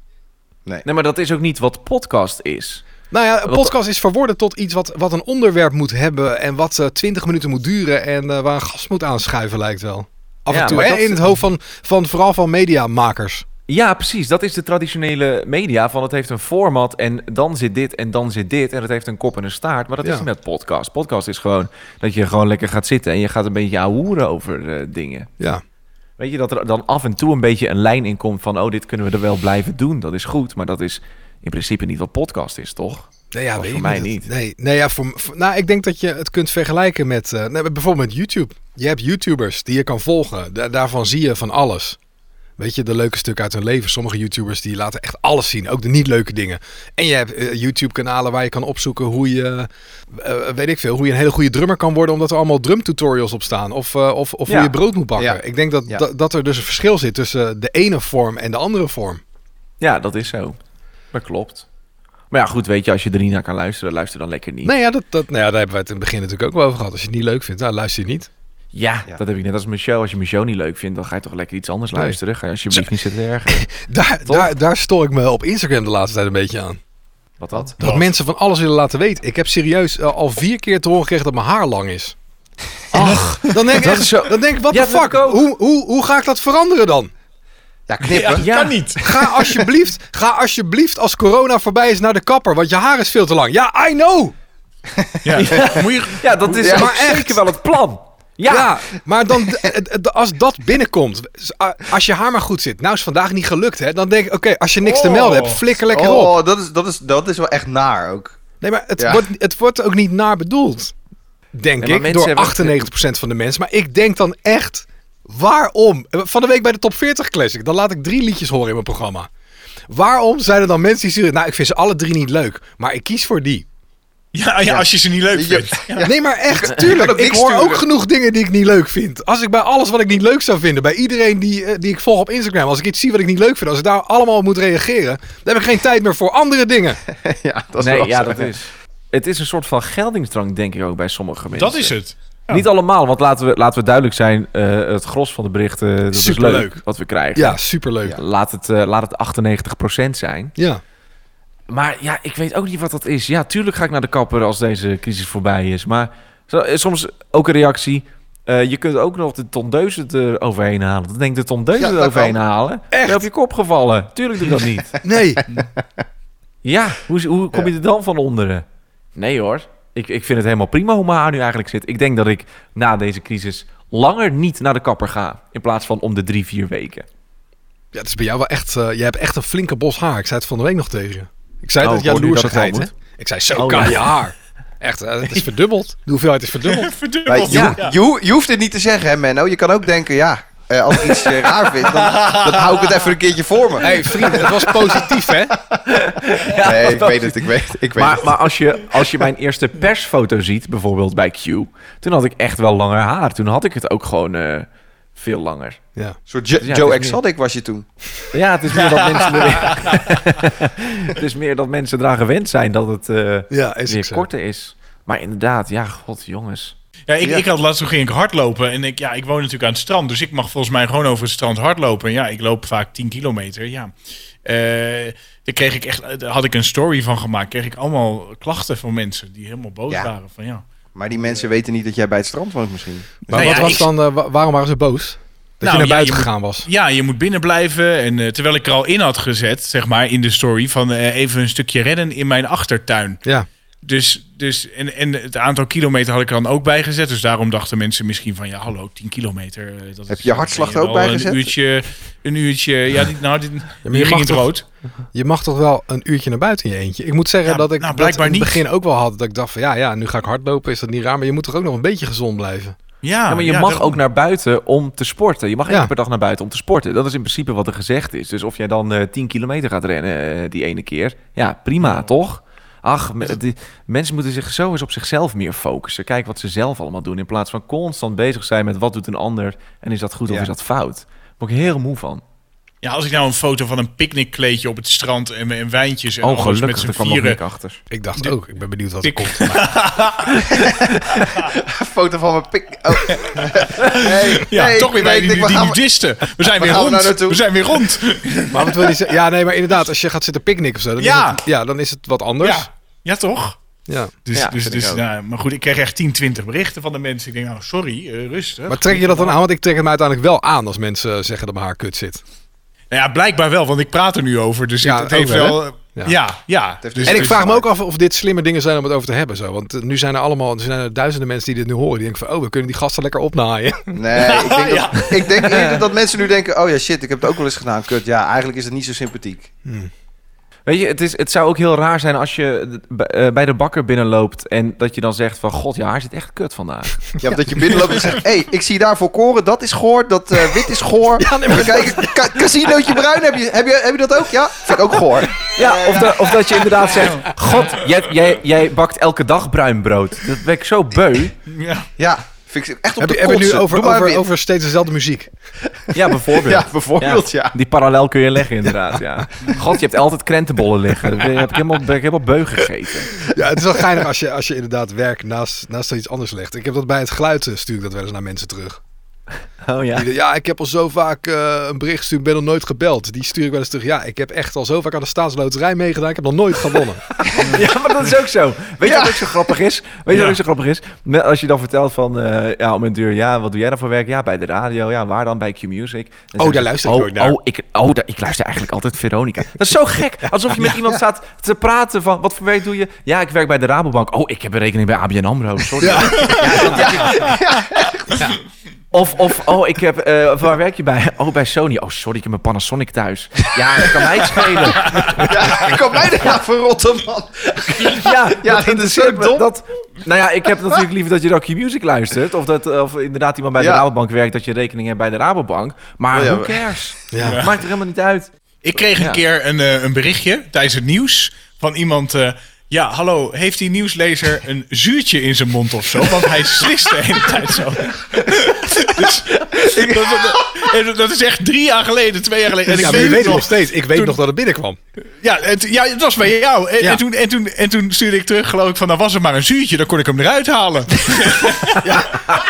Speaker 4: Nee, maar dat is ook niet wat podcast is.
Speaker 3: Nou ja, een
Speaker 4: Wat-
Speaker 3: podcast is verworden tot iets wat, wat een onderwerp moet hebben... en wat eh 20 minuten moet duren en eh, waar een gast moet aanschuiven, lijkt wel. Af en
Speaker 4: Ja,
Speaker 3: toe,
Speaker 4: maar
Speaker 3: hè,
Speaker 4: dat-
Speaker 3: in het hoofd van, van vooral van mediamakers.
Speaker 4: Ja, precies. Dat is de traditionele media. Van het heeft een format en dan zit dit en dan zit dit. En het heeft een kop en een staart. Maar dat
Speaker 3: Ja.
Speaker 4: is niet met podcast. Podcast is gewoon dat je gewoon lekker gaat zitten en je gaat een beetje ahoeren over eh, dingen.
Speaker 3: Ja,
Speaker 4: Weet je, dat er dan af en toe een beetje een lijn in komt van... oh, dit kunnen we er wel blijven doen. Dat is goed, maar dat is in principe niet wat podcast is, toch?
Speaker 3: Nee, ja,
Speaker 4: Maar
Speaker 3: weet
Speaker 4: voor
Speaker 3: ik
Speaker 4: mij
Speaker 3: het-
Speaker 4: niet.
Speaker 3: Nee, nee ja, voor, voor- nou, ik denk dat je het kunt vergelijken met eh, nee, bijvoorbeeld met YouTube. Je hebt YouTubers die je kan volgen. Da- daarvan zie je van alles. Weet je, de leuke stukken uit hun leven. Sommige YouTubers die laten echt alles zien. Ook de niet leuke dingen. En je hebt eh, YouTube-kanalen waar je kan opzoeken hoe je, eh, weet ik veel, hoe je een hele goede drummer kan worden. Omdat er allemaal drumtutorials op staan. Of, eh, of, of
Speaker 4: Ja.
Speaker 3: hoe je brood moet bakken.
Speaker 5: Ja.
Speaker 3: Ik denk dat,
Speaker 5: Ja.
Speaker 3: dat, dat er dus een verschil zit tussen de ene vorm en de andere vorm.
Speaker 4: Ja, dat is zo. Dat klopt. Maar ja, goed, weet je, als je er niet naar kan luisteren, luister dan lekker niet.
Speaker 3: Nou ja, dat, dat, nou ja, daar hebben we het in het begin natuurlijk ook wel over gehad. Als je het niet leuk vindt, nou, luister je niet.
Speaker 4: Ja,
Speaker 5: Ja.
Speaker 4: dat heb ik net als mijn show. Als je mijn show niet leuk vindt, dan ga je toch lekker iets anders
Speaker 3: Nee.
Speaker 4: luisteren. Ga je alsjeblieft niet zitten ergeren.
Speaker 3: Daar, daar, daar stoor ik me op Instagram de laatste tijd een beetje aan.
Speaker 4: Wat dat?
Speaker 3: Dat mensen van alles willen laten weten. Ik heb serieus eh, al vier keer te horen gekregen dat mijn haar lang is. Ach, dan denk ik, echt, zo... dan denk ik wat
Speaker 4: Ja,
Speaker 3: de
Speaker 4: dat
Speaker 3: fuck?
Speaker 4: heb ik ook.
Speaker 3: Hoe, hoe, hoe ga ik dat veranderen dan?
Speaker 5: Ja, knippen.
Speaker 2: dat
Speaker 4: Ja.
Speaker 2: kan niet.
Speaker 3: Ga alsjeblieft, ga alsjeblieft als corona voorbij is naar de kapper, want je haar is veel te lang. Ja, I know.
Speaker 2: Ja. Moet je,
Speaker 4: Ja, dat is
Speaker 5: Ja,
Speaker 4: maar
Speaker 3: maar echt.
Speaker 4: zeker wel het plan. Ja,
Speaker 3: Ja, maar dan, d- d- d- als dat binnenkomt, s- a- als je haar maar goed zit. Nou is vandaag niet gelukt, hè? Dan denk ik, oké, als je niks te
Speaker 2: Oh.
Speaker 3: melden hebt, flikker lekker op.
Speaker 5: Oh, dat is, dat, is, dat is wel echt naar ook.
Speaker 3: Nee, maar het,
Speaker 5: Ja.
Speaker 3: wordt, het wordt ook niet naar bedoeld. Denk
Speaker 4: Nee, maar
Speaker 3: ik,
Speaker 4: mensen
Speaker 3: door
Speaker 4: hebben-
Speaker 3: 98% van de mensen. Maar ik denk dan echt, waarom? Van de week bij de Top 40 Classic, dan laat ik drie liedjes horen in mijn programma. Waarom zijn er dan mensen die zeggen, nou, ik vind ze alle drie niet leuk, maar ik kies voor die.
Speaker 2: ja, ja, als je ze niet leuk
Speaker 5: Ja.
Speaker 2: vindt.
Speaker 3: Nee, maar echt, tuurlijk.
Speaker 5: ook
Speaker 3: Ik
Speaker 5: niks
Speaker 3: hoor
Speaker 5: sturen.
Speaker 3: ook genoeg dingen die ik niet leuk vind. Als ik bij alles wat ik niet leuk zou vinden, bij iedereen die, eh, die ik volg op Instagram, als ik iets zie wat ik niet leuk vind, als ik daar allemaal op moet reageren, dan heb ik geen tijd meer voor andere dingen.
Speaker 5: ja, dat is
Speaker 4: nee,
Speaker 5: wel
Speaker 4: ja,
Speaker 5: zo.
Speaker 4: dat is. Het is een soort van geldingsdrang, denk ik ook, bij sommige mensen.
Speaker 2: Dat is het.
Speaker 4: Niet allemaal, want laten we, laten we duidelijk zijn: eh, het gros van de berichten dat is leuk,
Speaker 3: Superleuk.
Speaker 4: wat we krijgen.
Speaker 3: Ja, superleuk. Ja.
Speaker 4: Laat, het, eh, laat het 98% zijn.
Speaker 3: ja.
Speaker 4: Maar ja, ik weet ook niet wat dat is. Ja, tuurlijk ga ik naar de kapper als deze crisis voorbij is. Maar zo- eh, soms ook een reactie. eh, je kunt ook nog de tondeuzen eroverheen halen. Dan denk ik, de
Speaker 5: Ja,
Speaker 4: tondeuzen
Speaker 5: dat
Speaker 4: eroverheen
Speaker 5: kan.
Speaker 4: halen. Echt? op je kop gevallen. Tuurlijk doe ik dat niet.
Speaker 3: Nee.
Speaker 4: ja, hoe, is- hoe kom je er dan van onderen? Nee hoor. Ik, ik vind het helemaal prima hoe mijn haar nu eigenlijk zit. Ik denk dat ik na deze crisis langer niet naar de kapper ga. In plaats van om de drie, vier weken.
Speaker 3: Ja, het is bij jou wel echt... eh, je hebt echt een flinke bos haar. Ik zei het van de week nog tegen je. Ik zei
Speaker 4: Oh,
Speaker 3: dat
Speaker 4: ik hoor nu dat het wel
Speaker 3: jaloersigheid, hè? Ik zei, zo
Speaker 4: Oh,
Speaker 3: kan
Speaker 4: ja.
Speaker 3: je haar. Echt, eh, het is verdubbeld. De hoeveelheid is
Speaker 2: Nou
Speaker 3: verdubbeld.
Speaker 5: Maar
Speaker 2: Verdubbeld.
Speaker 5: je,
Speaker 2: Ja.
Speaker 5: je, ho- je hoeft dit niet te zeggen, hè, Menno. Je kan ook denken, ja, eh, als ik iets eh, raar vind, dan, dan hou ik het even een keertje voor me.
Speaker 3: Hé, hey, vriend, het was positief, hè?
Speaker 5: nee, ik weet het, ik weet het. Ik weet
Speaker 4: Maar,
Speaker 5: het.
Speaker 4: maar als, je, als je mijn eerste persfoto ziet, bijvoorbeeld bij Q, toen had ik echt wel langer haar. Toen had ik het ook gewoon eh, veel langer.
Speaker 3: Ja.
Speaker 5: Een soort Jo-
Speaker 4: Ja, het
Speaker 5: Joe
Speaker 4: is
Speaker 5: Exotic was je toen.
Speaker 4: Ja, het is meer dat mensen er, het is meer dat mensen eraan gewend zijn dat het eh
Speaker 3: Ja, is
Speaker 4: weer
Speaker 3: ik zo.
Speaker 4: korter is. Maar inderdaad, ja, god jongens.
Speaker 2: Ja, ik, ik had laatst toen ging ik hardlopen. En ik, ja, ik woon natuurlijk aan het strand. Dus ik mag volgens mij gewoon over het strand hardlopen. En ja, ik loop vaak 10 kilometer. Ja. Eh, daar kreeg ik echt, daar had ik een story van gemaakt. Kreeg ik allemaal klachten van mensen die helemaal boos
Speaker 5: Ja.
Speaker 2: waren. Van, ja.
Speaker 5: Maar die mensen weten niet dat jij bij het strand woont misschien.
Speaker 3: Maar
Speaker 2: Nou
Speaker 3: wat
Speaker 2: ja,
Speaker 3: was
Speaker 2: ik-
Speaker 3: dan... eh, wa- waarom waren ze boos? Dat je
Speaker 2: Nou, ja,
Speaker 3: naar buiten
Speaker 2: je moet-
Speaker 3: gegaan was.
Speaker 2: ja, je moet binnen blijven. En eh, terwijl ik er al in had gezet, zeg maar, in de story van eh, even een stukje rennen in mijn achtertuin.
Speaker 3: Ja.
Speaker 2: Dus, dus en, en het aantal kilometer had ik er dan ook bij gezet. Dus daarom dachten mensen misschien van ja, hallo, 10 kilometer. eh, Dat
Speaker 5: Heb
Speaker 2: is-
Speaker 5: je hartslag
Speaker 2: ben
Speaker 5: er ook
Speaker 2: wel
Speaker 5: bij gezet?
Speaker 2: Een uurtje, een uurtje. Ja, dit, nou, dit,
Speaker 3: je
Speaker 2: je
Speaker 3: mag
Speaker 2: ging het
Speaker 3: toch-
Speaker 2: rood.
Speaker 3: Je mag toch wel een uurtje naar buiten in je eentje? Ik moet zeggen
Speaker 2: Ja,
Speaker 3: dat ik
Speaker 2: nou,
Speaker 3: dat in
Speaker 2: blijkbaar
Speaker 3: het
Speaker 2: niet.
Speaker 3: begin ook wel had. Dat ik dacht van, ja, ja, nu ga ik hardlopen. Is dat niet raar? Maar je moet toch ook nog een beetje gezond blijven?
Speaker 2: Ja,
Speaker 4: Ja, maar je
Speaker 2: ja,
Speaker 4: mag
Speaker 2: daarom.
Speaker 4: ook naar buiten om te sporten. Je mag één
Speaker 3: Ja.
Speaker 4: keer per dag naar buiten om te sporten. Dat is in principe wat er gezegd is. Dus of jij dan eh 10 kilometer gaat rennen eh, die ene keer, ja, prima, toch? Ach, me- die- mensen moeten zich zo eens op zichzelf meer focussen. Kijk wat ze zelf allemaal doen. In plaats van constant bezig zijn met wat doet een ander en is dat goed of
Speaker 5: Ja.
Speaker 4: is dat fout. Daar word ik heel moe van.
Speaker 2: Ja, als ik nou een foto van een picknickkleedje op het strand en, en wijntjes en
Speaker 4: Oh,
Speaker 2: alles
Speaker 4: gelukkig,
Speaker 2: met
Speaker 4: daar
Speaker 2: z'n
Speaker 4: kwam nog
Speaker 2: vieren.
Speaker 4: Nick achter.
Speaker 3: Ik dacht ook. Ik ben benieuwd wat er
Speaker 2: Ik-
Speaker 3: komt. Maar-
Speaker 5: Een foto van mijn pik. Oh. Hey,
Speaker 2: Ja,
Speaker 5: hey,
Speaker 2: toch weer bij
Speaker 5: ik
Speaker 2: die,
Speaker 5: denk,
Speaker 2: die,
Speaker 5: we gaan-
Speaker 2: nudisten. We zijn
Speaker 5: waar
Speaker 2: weer
Speaker 5: gaan
Speaker 2: rond.
Speaker 5: we nou naartoe?
Speaker 2: we zijn weer rond.
Speaker 3: Maar wat wil je zeggen? Ja, nee, maar inderdaad, als je gaat zitten picknicken of zo, dan,
Speaker 2: Ja.
Speaker 3: is, het, ja, dan is het wat anders.
Speaker 2: Ja, ja toch?
Speaker 3: Ja.
Speaker 2: Dus,
Speaker 4: Ja,
Speaker 2: dus,
Speaker 4: vind ik
Speaker 2: dus,
Speaker 4: ook.
Speaker 2: nou, maar goed, ik kreeg echt 10, 20 berichten van de mensen. Ik denk, nou, sorry, eh, rustig.
Speaker 3: Maar trek je dat dan aan? Want ik trek het me uiteindelijk wel aan als mensen eh, zeggen dat mijn haar kut zit.
Speaker 2: Nou ja, blijkbaar wel, want ik praat er nu over. Dus
Speaker 3: Ja,
Speaker 2: het, het heeft
Speaker 3: ook wel,
Speaker 2: wel... eh,
Speaker 3: hè?
Speaker 2: ja,
Speaker 3: Ja.
Speaker 2: ja.
Speaker 5: heeft
Speaker 2: Dus-
Speaker 5: dus-
Speaker 3: en ik
Speaker 2: dus-
Speaker 3: vraag me ook af of dit slimme dingen zijn om het over te hebben. Zo. Want eh, nu zijn er allemaal er zijn er duizenden mensen die dit nu horen. Die denken van, oh, we kunnen die gasten lekker opnaaien.
Speaker 5: Nee, ik denk, dat, ik denk eerder dat mensen nu denken... Oh ja, shit, ik heb het ook wel eens gedaan. Kut, ja, eigenlijk is het niet zo sympathiek.
Speaker 4: Weet je, het, is, het zou ook heel raar zijn als je d- bij- eh, bij de bakker binnenloopt en dat je dan zegt van... God, ja, hij zit echt kut vandaag.
Speaker 5: Ja, dat je binnenloopt en zegt... hey, ik zie daar volkoren, dat is goor, dat eh, wit is goor. Kijk, ka- casinootje bruin, heb je, heb, je, heb je dat ook? Ja, vind ik ook goor.
Speaker 4: Ja, of, dat- of dat je inderdaad zegt... God, jij, jij, jij bakt elke dag bruin brood. Dat ben ik zo beu.
Speaker 2: Ja.
Speaker 5: Ja, vind ik echt op
Speaker 3: Heb
Speaker 5: de
Speaker 3: je, heb je nu
Speaker 5: kotsen.
Speaker 3: over,
Speaker 5: Doe maar
Speaker 3: over,
Speaker 5: weer.
Speaker 3: over steeds dezelfde muziek?
Speaker 4: Ja, bijvoorbeeld.
Speaker 5: Ja, bijvoorbeeld, ja.
Speaker 4: Die parallel kun je leggen, inderdaad. Ja. God, je hebt altijd krentenbollen liggen. Daar heb ik helemaal, ben ik helemaal beu gegeten.
Speaker 3: Ja, het is wel geinig als je, als je inderdaad werk naast, naast iets anders legt. Ik heb dat bij het geluiden stuur ik dat wel eens naar mensen terug.
Speaker 4: Oh ja.
Speaker 3: Die, ja, ik heb al zo vaak eh, een bericht gestuurd, ben nog nooit gebeld. Die stuur ik wel eens terug. Ja, ik heb echt al zo vaak aan de staatsloterij meegedaan, ik heb nog nooit gewonnen.
Speaker 4: Ja, maar dat is ook zo. Weet je wat ook zo grappig is? Weet je
Speaker 2: Ja.
Speaker 4: wat ook zo grappig is? Met- Als je dan vertelt van, eh, ja, om een duur, ja, wat doe jij dan voor werk? Ja, bij de radio. Ja, waar dan? Bij Q-Music. Dan
Speaker 3: daar
Speaker 4: zeggen ze,
Speaker 3: luister ik
Speaker 4: oh,
Speaker 3: nooit naar.
Speaker 4: Oh, ik, oh daar, ik luister eigenlijk altijd Veronica. Dat is zo gek. Alsof je met iemand staat te praten van, wat voor werk doe je? Ja, ik werk bij de Rabobank. Oh, ik heb een rekening bij ABN AMRO. Sorry. Ja. dat denk ik. Ja. Of, of, oh, ik heb, eh, waar werk je bij? Oh, bij Sony. Oh, sorry, ik heb mijn Panasonic thuis. Ja, dat kan mij het spelen.
Speaker 5: Ja, ik kom mij daarna verrotten, man.
Speaker 4: Ja,
Speaker 5: Ja, dat is
Speaker 4: interesseert
Speaker 5: zo
Speaker 4: me.
Speaker 5: dom.
Speaker 4: Dat, nou ja, ik heb natuurlijk liever dat je Rocky Music luistert. Of, dat, of inderdaad iemand bij de
Speaker 5: Ja.
Speaker 4: Rabobank werkt, dat je rekening hebt bij de Rabobank. Maar
Speaker 5: Oh ja,
Speaker 4: hoe
Speaker 5: maar-
Speaker 4: cares?
Speaker 3: Ja.
Speaker 4: Maakt er helemaal niet uit.
Speaker 2: Ik kreeg een
Speaker 4: Ja.
Speaker 2: keer een, eh, een berichtje tijdens het nieuws van iemand. eh, ja, hallo, heeft die nieuwslezer een zuurtje in zijn mond of zo? Want hij slist de hele tijd zo. dus, dat, dat- dat- dat is echt drie jaar geleden, twee jaar geleden. En
Speaker 3: ja,
Speaker 2: ik
Speaker 3: maar je weet
Speaker 2: weet het
Speaker 3: het nog
Speaker 2: nog.
Speaker 3: steeds. Ik weet
Speaker 2: Toen-
Speaker 3: nog dat het binnenkwam.
Speaker 2: Ja, het, ja, het was bij jou. En,
Speaker 3: Ja.
Speaker 2: en, toen, en, toen, en toen stuurde ik terug, geloof ik, van... nou was er maar een zuurtje, dan kon ik hem eruit halen.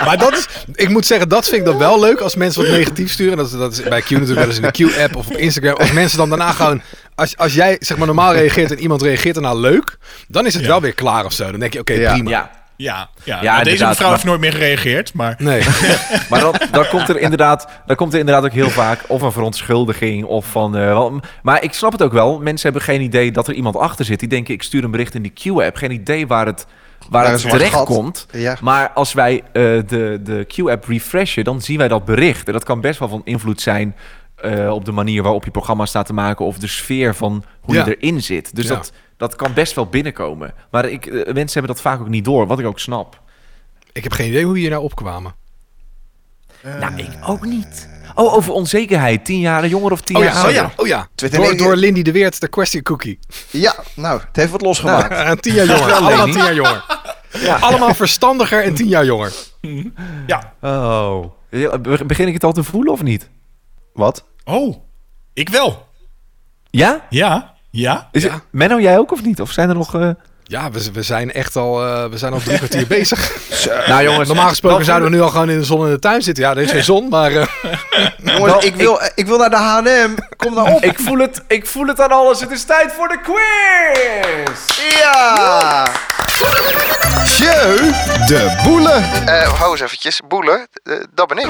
Speaker 3: Maar dat is, ik moet zeggen, dat vind ik dan wel leuk als mensen wat negatief sturen. Dat is, dat is bij Q natuurlijk wel eens in de Q-app of op Instagram. Als mensen dan daarna gewoon, als, als jij zeg maar normaal reageert en iemand reageert daarna leuk, dan is het wel weer klaar of zo. Dan denk je, oké,
Speaker 5: Ja.
Speaker 3: prima.
Speaker 4: Ja.
Speaker 2: Ja, ja.
Speaker 4: Ja,
Speaker 2: Nou, deze
Speaker 4: inderdaad,
Speaker 2: mevrouw heeft
Speaker 4: maar-
Speaker 2: nooit meer gereageerd, maar...
Speaker 3: Nee.
Speaker 4: Maar dan, dan, komt er inderdaad, dan komt er inderdaad ook heel vaak of een verontschuldiging of van... eh, wel- maar ik snap het ook wel. Mensen hebben geen idee dat er iemand achter zit. Die denken, ik stuur een bericht in die Q-app. Geen idee waar het, waar
Speaker 5: Waar
Speaker 4: het
Speaker 5: het wordt
Speaker 4: terecht
Speaker 5: gehad.
Speaker 4: komt.
Speaker 5: Ja.
Speaker 4: Maar als wij eh, de, de Q-app refreshen, dan zien wij dat bericht. En dat kan best wel van invloed zijn eh, op de manier waarop je programma staat te maken... of de sfeer van hoe
Speaker 3: Ja.
Speaker 4: je erin zit. Dus
Speaker 3: Ja.
Speaker 4: dat, dat kan best wel binnenkomen. Maar ik, eh, mensen hebben dat vaak ook niet door, wat ik ook snap.
Speaker 3: Ik heb geen idee hoe hier nou opkwamen.
Speaker 4: Nou, ik ook niet. Oh, over onzekerheid. Tien jaar jonger of tien
Speaker 3: Oh
Speaker 4: jaar
Speaker 3: ja, oh
Speaker 4: ouder.
Speaker 3: ja, oh ja.
Speaker 5: Twitter-
Speaker 3: Door,
Speaker 5: nee,
Speaker 3: door Lindy de Weert, de question cookie.
Speaker 5: Ja, nou, het heeft wat losgemaakt.
Speaker 3: Een tien jaar jonger. Allemaal
Speaker 4: Leni.
Speaker 3: tien jaar jonger.
Speaker 4: Ja.
Speaker 3: Allemaal verstandiger en tien jaar jonger.
Speaker 4: Oh. Ja, be- Begin ik het al te voelen of niet?
Speaker 5: Wat?
Speaker 2: Oh, ik wel.
Speaker 4: Ja?
Speaker 2: Ja, ja.
Speaker 4: Is Het, Menno, jij ook of niet? Of zijn er nog... eh,
Speaker 3: Ja, we, we zijn echt al, eh, we zijn al drie kwartier bezig.
Speaker 4: Nou jongens,
Speaker 3: Normaal gesproken zouden we nu al gewoon in de zon in de tuin zitten. Ja, er is geen zon, maar eh,
Speaker 5: Jongens, ik, wil, Nou, ik wil naar de H&M. Kom nou op.
Speaker 4: Ik voel, het, ik voel het aan alles. Het is tijd voor de quiz!
Speaker 5: Ja! Jeu, de boelen. Eh, hou eens eventjes. Boelen, eh, dat ben ik.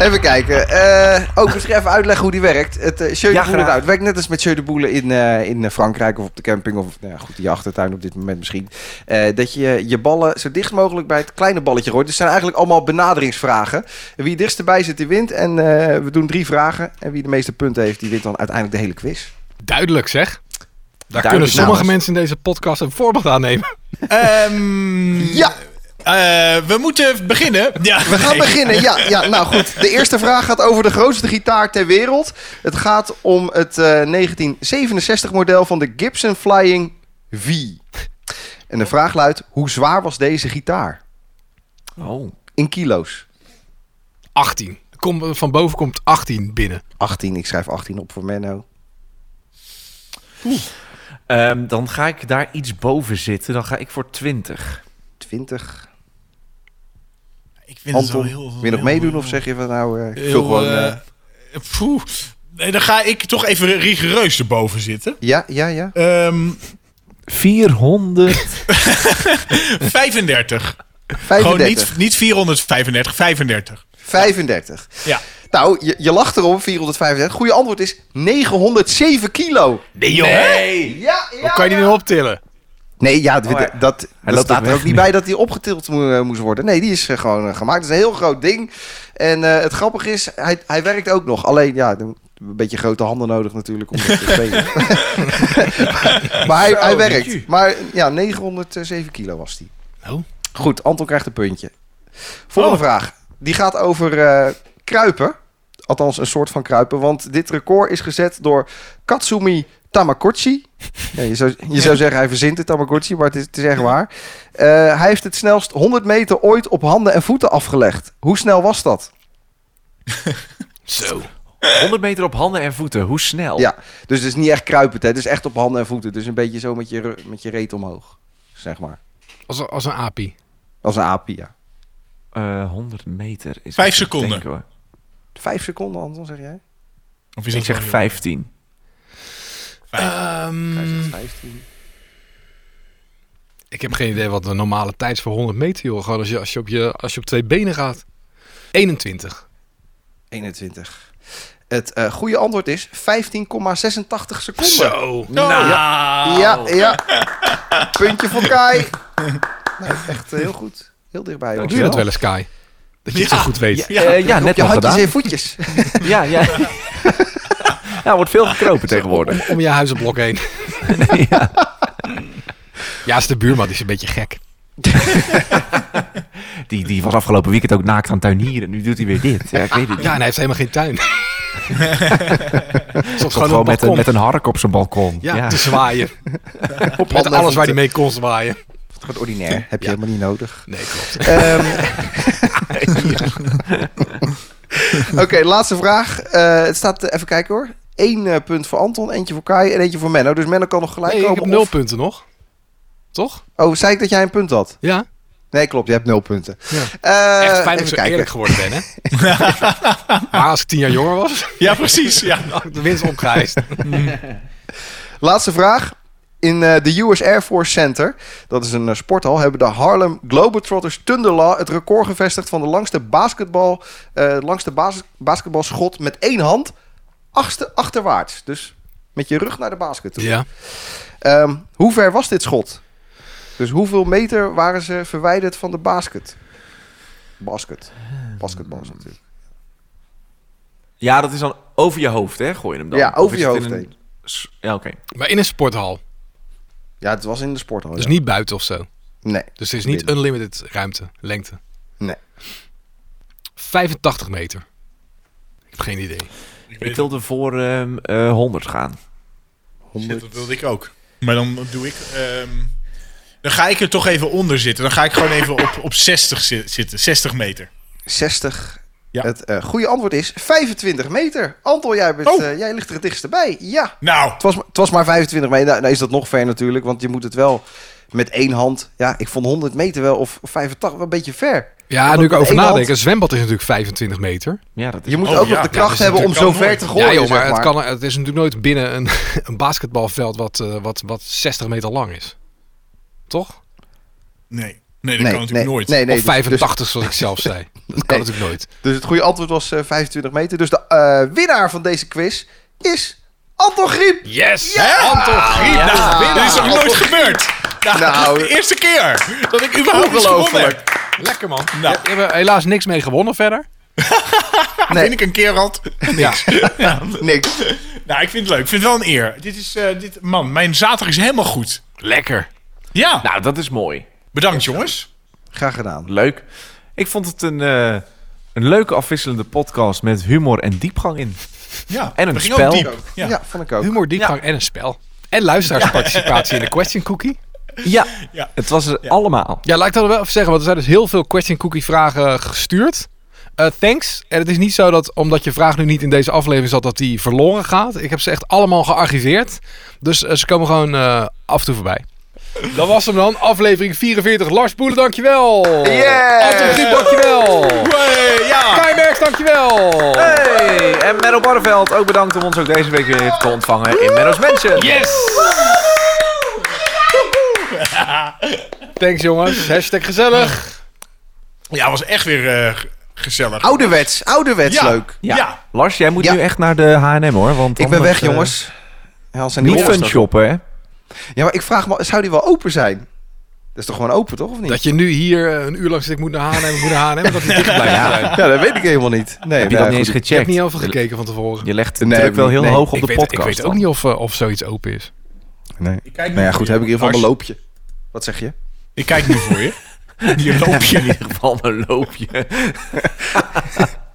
Speaker 5: Even kijken. Eh ook eens even uitleggen hoe die werkt. Het eh Jeu
Speaker 4: Ja,
Speaker 5: de Boelen
Speaker 4: graag.
Speaker 5: uit. Werkt net als met Jeu de Boelen in, eh, in eh, Frankrijk of op de camping. Of nou ja, goed, die achtertuin op dit moment misschien. Eh, dat je je ballen zo dicht mogelijk bij het kleine balletje gooit. Dus het zijn eigenlijk allemaal benaderingsvragen. Wie het dichtst erbij zit, die wint. En eh, we doen drie vragen. En wie de meeste punten heeft, die wint dan uiteindelijk de hele quiz.
Speaker 3: duidelijk zeg. Daar kunnen
Speaker 4: namens.
Speaker 3: sommige mensen in deze podcast een voorbeeld aan nemen.
Speaker 2: Ehm,
Speaker 5: Ja!
Speaker 2: eh, we moeten beginnen. Ja,
Speaker 5: We gaan beginnen. Ja, ja, nou goed. De eerste vraag gaat over de grootste gitaar ter wereld. Het gaat om het eh, 1967 model van de Gibson Flying V. En de vraag luidt: hoe zwaar was deze gitaar?
Speaker 4: Oh.
Speaker 5: In kilo's.
Speaker 3: 18. Kom, van boven komt 18 binnen.
Speaker 5: 18, ik schrijf 18 op voor Menno.
Speaker 4: Ehm, dan ga ik daar iets boven zitten. Dan ga ik voor 20.
Speaker 5: 20.
Speaker 2: Ik vind het wel
Speaker 5: Anton,
Speaker 2: heel...
Speaker 5: wil je
Speaker 2: heel-
Speaker 5: nog meedoen of zeg je van nou, eh, ik
Speaker 2: heel,
Speaker 5: vul gewoon.
Speaker 2: eh,
Speaker 5: eh,
Speaker 2: poeh. Nee, dan ga ik toch even rigoureus erboven zitten.
Speaker 5: ja, ja, ja.
Speaker 2: Ehm,
Speaker 4: 400.
Speaker 2: 35. Gewoon
Speaker 5: 35.
Speaker 2: niet, niet 435, 35.
Speaker 5: 35.
Speaker 2: Ja.
Speaker 5: Nou, je, je lacht erom, 435. Goede antwoord is 907 kilo.
Speaker 2: Nee, joh.
Speaker 4: Nee!
Speaker 5: Ja, ja.
Speaker 3: Of kan je die nog optillen?
Speaker 5: Nee, ja, d-
Speaker 4: Oh, hij-
Speaker 5: d- dat, dat
Speaker 4: loopt
Speaker 5: staat
Speaker 4: echt
Speaker 5: er ook niet
Speaker 4: niet.
Speaker 5: bij dat die opgetild mo- eh, moest worden. Nee, die is eh, gewoon eh, gemaakt. Het is een heel groot ding. En eh, het grappige is, hij, hij werkt ook nog. Alleen, ja, dan een beetje grote handen nodig natuurlijk om dat te spelen. maar hij, hij werkt. Maar ja, 907 kilo was hij.
Speaker 3: Oh.
Speaker 5: Goed, Anton krijgt een puntje. Volgende
Speaker 2: Oh.
Speaker 5: vraag. Die gaat over eh, kruipen. Althans, een soort van kruipen. Want dit record is gezet door Katsumi Tamagotchi. Ja, je zou, je zou zeggen, hij verzint het Tamagotchi, maar het is, het is echt waar. Eh, hij heeft het snelst 100 meter ooit op handen en voeten afgelegd. Hoe snel was dat?
Speaker 3: Zo.
Speaker 4: 100 meter op handen en voeten, hoe snel?
Speaker 5: Ja, dus het is niet echt kruipend, hè. Het is echt op handen en voeten. Dus een beetje zo met je, re- met je reet omhoog, zeg maar.
Speaker 3: Als, een- als een api.
Speaker 5: Als een aapje, ja.
Speaker 4: Eh, 100 meter is...
Speaker 2: Vijf
Speaker 4: even
Speaker 2: seconden.
Speaker 4: denken, hoor.
Speaker 5: Vijf seconden, Anton, zeg jij?
Speaker 2: Of is
Speaker 4: Ik
Speaker 2: dat
Speaker 4: zeg
Speaker 2: wel-
Speaker 4: 15.
Speaker 5: Hij zegt 15.
Speaker 3: Ik heb geen idee wat de normale tijd is voor 100 meter, joh. Gewoon als je, als je, op, je, als je op twee benen gaat. 21.
Speaker 5: 21. Het eh, goede antwoord is 15,86 seconden.
Speaker 2: Oh,
Speaker 5: Ja, ja. Puntje voor Kai. Nou, echt eh, heel goed. Heel dichtbij. hoor.
Speaker 3: Doe je dat wel eens, Kai? Dat je het zo goed weet.
Speaker 4: Ja, eh, ja, net
Speaker 5: Op je
Speaker 4: nog
Speaker 5: handjes
Speaker 4: gedaan.
Speaker 5: en voetjes.
Speaker 4: Ja, ja. ja, wordt veel gekropen tegenwoordig.
Speaker 3: Om je huizenblok heen.
Speaker 4: ja.
Speaker 3: Ja, is de buurman. Die is een beetje gek.
Speaker 4: die, die was afgelopen weekend ook naakt aan tuinieren. Nu doet hij weer dit. Ja, ik weet het niet.
Speaker 3: Ja, en hij heeft helemaal geen tuin. Stond
Speaker 4: Gewoon,
Speaker 3: gewoon op
Speaker 4: met,
Speaker 3: het
Speaker 4: een,
Speaker 3: balkon.
Speaker 4: met een hark op zijn balkon.
Speaker 3: ja,
Speaker 5: dus-
Speaker 3: te zwaaien.
Speaker 5: Op
Speaker 3: Met alles waar hij mee kon zwaaien.
Speaker 5: Gewoon ordinair. Heb je
Speaker 3: Ja.
Speaker 5: helemaal niet nodig.
Speaker 3: Nee, klopt.
Speaker 5: Ehm. Oké, laatste vraag. Eh, het staat, eh, even kijken hoor. Eén eh, punt voor Anton, eentje voor Kai en eentje voor Menno. Dus Menno kan nog gelijk
Speaker 3: Nee, ik
Speaker 5: komen.
Speaker 3: heb nul
Speaker 5: of-
Speaker 3: punten nog. Toch?
Speaker 5: Oh, zei ik dat jij een punt had?
Speaker 3: Ja.
Speaker 5: Nee, klopt. Je hebt nul punten.
Speaker 3: Ja.
Speaker 5: Eh,
Speaker 3: Echt fijn dat ik
Speaker 5: even
Speaker 3: zo
Speaker 5: kijken.
Speaker 3: eerlijk geworden ben, hè? maar als ik tien jaar jonger was,
Speaker 2: Ja, precies. Ja.
Speaker 3: had ik de winst opgeëist.
Speaker 5: Laatste vraag. In eh, de US Air Force Center, dat is een eh, sporthal, hebben de Harlem Globetrotters Thunderlaw het record gevestigd van de langste, basketbal, eh, langste bas- basketbalschot met één hand achter, achterwaarts. Dus met je rug naar de basket toe.
Speaker 3: Ja.
Speaker 5: Ehm, hoe ver was dit schot? Dus hoeveel meter waren ze verwijderd van de basket? Basket. Basketbal is natuurlijk.
Speaker 4: Ja, dat is dan over je hoofd, hè? Gooi je hem dan.
Speaker 5: Ja,
Speaker 4: Of
Speaker 5: over
Speaker 4: is
Speaker 5: je
Speaker 4: het in
Speaker 5: hoofd heen.
Speaker 4: s- Ja, oké.
Speaker 3: Maar in een sporthal.
Speaker 5: Ja, het was in de sporthal.
Speaker 3: Dus
Speaker 5: ja.
Speaker 3: niet buiten of zo.
Speaker 5: Nee.
Speaker 3: Dus er is niet
Speaker 5: Binnen.
Speaker 3: unlimited ruimte, lengte.
Speaker 5: Nee.
Speaker 3: 85 meter. Ik heb geen idee.
Speaker 4: Ik wilde voor ehm, eh, 100 gaan.
Speaker 2: Shit, dat wilde ik ook. Maar dan doe ik... ehm, dan ga ik er toch even onder zitten. Dan ga ik gewoon even op, op 60 zi- zitten. 60 meter.
Speaker 5: 60.
Speaker 2: Ja.
Speaker 5: Het eh, goede antwoord is 25 meter. Anton, jij, bent,
Speaker 2: Oh.
Speaker 5: eh, jij ligt er het dichtste bij. Ja.
Speaker 2: Nou,
Speaker 5: Het was, het was maar 25 meter. Nou, nou is dat nog ver natuurlijk, want je moet het wel met één hand. Ja, ik vond 100 meter wel of 85 wel een beetje ver.
Speaker 3: Ja,
Speaker 5: Want
Speaker 3: nu ik
Speaker 5: met
Speaker 3: erover
Speaker 5: één hand-
Speaker 3: nadenk. Een zwembad is natuurlijk 25 meter.
Speaker 4: Ja, dat is...
Speaker 5: Je moet
Speaker 2: Oh,
Speaker 5: ook
Speaker 2: ja.
Speaker 5: nog de
Speaker 2: Ja, dat
Speaker 5: kracht
Speaker 2: is
Speaker 5: hebben om zo
Speaker 2: natuurlijk
Speaker 5: ver
Speaker 2: wel
Speaker 5: te
Speaker 2: nooit.
Speaker 5: gooien.
Speaker 3: ja, joh, maar,
Speaker 5: zeg
Speaker 3: Het, kan, het is natuurlijk nooit binnen een, een basketbalveld wat, eh, wat, wat 60 meter lang is. Toch?
Speaker 2: nee. Nee, dat kan natuurlijk nooit.
Speaker 5: Nee, nee,
Speaker 3: of
Speaker 5: dus-
Speaker 3: 85, zoals ik zelf zei. Dat kan
Speaker 5: Nee.
Speaker 3: natuurlijk nooit.
Speaker 5: Dus, dus het goede antwoord was eh, 25 meter. Dus de eh, winnaar van deze quiz is Anton Griep.
Speaker 3: Yes!
Speaker 2: Hè?
Speaker 3: Anton Griep,
Speaker 2: Ja.
Speaker 3: nou,
Speaker 2: Nou, dit is nog nooit gebeurd. Nou,
Speaker 5: Nou.
Speaker 2: de eerste keer dat ik überhaupt iets gewonnen heb.
Speaker 5: Ongelooflijk.
Speaker 3: Lekker man.
Speaker 2: Nou.
Speaker 3: Je hebt er helaas niks mee gewonnen verder.
Speaker 2: Vind
Speaker 5: Nee,
Speaker 2: ik een keer had.
Speaker 3: Ja.
Speaker 5: niks.
Speaker 2: Nou, ik vind het leuk. Ik vind het wel een eer. Dit is, eh, dit, man, mijn zaterdag is helemaal goed.
Speaker 3: Lekker.
Speaker 2: Ja,
Speaker 4: Nou, dat is mooi.
Speaker 2: bedankt jongens.
Speaker 5: Graag gedaan.
Speaker 4: Leuk. Ik vond het een, eh, een leuke afwisselende podcast met humor en diepgang in.
Speaker 2: Ja,
Speaker 4: En een
Speaker 2: we gingen ook
Speaker 4: spel.
Speaker 2: diep.
Speaker 5: Ja,
Speaker 2: Ja.
Speaker 5: vond ik ook.
Speaker 3: Humor, diepgang en een spel. En luisteraarsparticipatie in de question cookie.
Speaker 4: Ja,
Speaker 2: Ja.
Speaker 4: het was er allemaal.
Speaker 3: Ja, laat ik dat wel even zeggen, want er zijn dus heel veel question cookie vragen gestuurd. Eh, thanks. En het is niet zo dat omdat je vraag nu niet in deze aflevering zat, dat die verloren gaat. Ik heb ze echt allemaal gearchiveerd. Dus eh, ze komen gewoon eh, af en toe voorbij. Dat was hem dan, aflevering 44. Lars Boelen, dankjewel.
Speaker 5: Yeah.
Speaker 3: Anton Griep, dankjewel.
Speaker 2: Hey, ja.
Speaker 3: Kai Merks, dankjewel.
Speaker 4: Hey, en Menno Barreveld, ook bedankt om ons ook deze week weer te ontvangen in Menno's Mansion.
Speaker 3: Yes! Thanks jongens, hashtag gezellig.
Speaker 2: ja, was echt weer eh, gezellig.
Speaker 5: Ouderwets, ouderwets
Speaker 2: Ja.
Speaker 5: leuk.
Speaker 4: Ja.
Speaker 2: Ja.
Speaker 4: Lars, jij moet
Speaker 5: Ja.
Speaker 4: nu echt naar de H&M hoor. Want
Speaker 5: Ik ben
Speaker 4: anders,
Speaker 5: weg,
Speaker 4: eh,
Speaker 5: jongens. Hans en die
Speaker 4: Niet
Speaker 5: rollen.
Speaker 4: fun shoppen, hè?
Speaker 5: Ja, maar ik vraag me, zou die wel open zijn? Dat is toch gewoon open, toch? Of niet?
Speaker 3: Dat je nu hier eh, een uur lang zit, ik moet naar Haarlem, ik moet naar Haarlem. Dat het dicht blijft zijn.
Speaker 5: ja. ja, dat weet ik helemaal niet. Nee,
Speaker 4: Heb je dat
Speaker 5: nou,
Speaker 4: niet eens
Speaker 5: goed.
Speaker 3: Ik heb
Speaker 4: gecheckt?
Speaker 3: niet heel veel gekeken van tevoren.
Speaker 4: Je legt de
Speaker 5: Nee,
Speaker 4: druk wel heel
Speaker 5: nee.
Speaker 4: hoog op
Speaker 3: ik
Speaker 4: de
Speaker 3: weet,
Speaker 4: podcast.
Speaker 3: Ik weet ook
Speaker 4: dan.
Speaker 3: niet of, eh, of zoiets open is.
Speaker 5: Nee.
Speaker 2: Ik kijk nu
Speaker 5: Nou ja,
Speaker 2: voor
Speaker 5: goed,
Speaker 2: je.
Speaker 5: heb ik in ieder geval
Speaker 2: Lars,
Speaker 5: mijn loopje. Wat zeg je?
Speaker 2: Ik kijk nu voor je. Je loop je
Speaker 4: In ieder geval een loopje.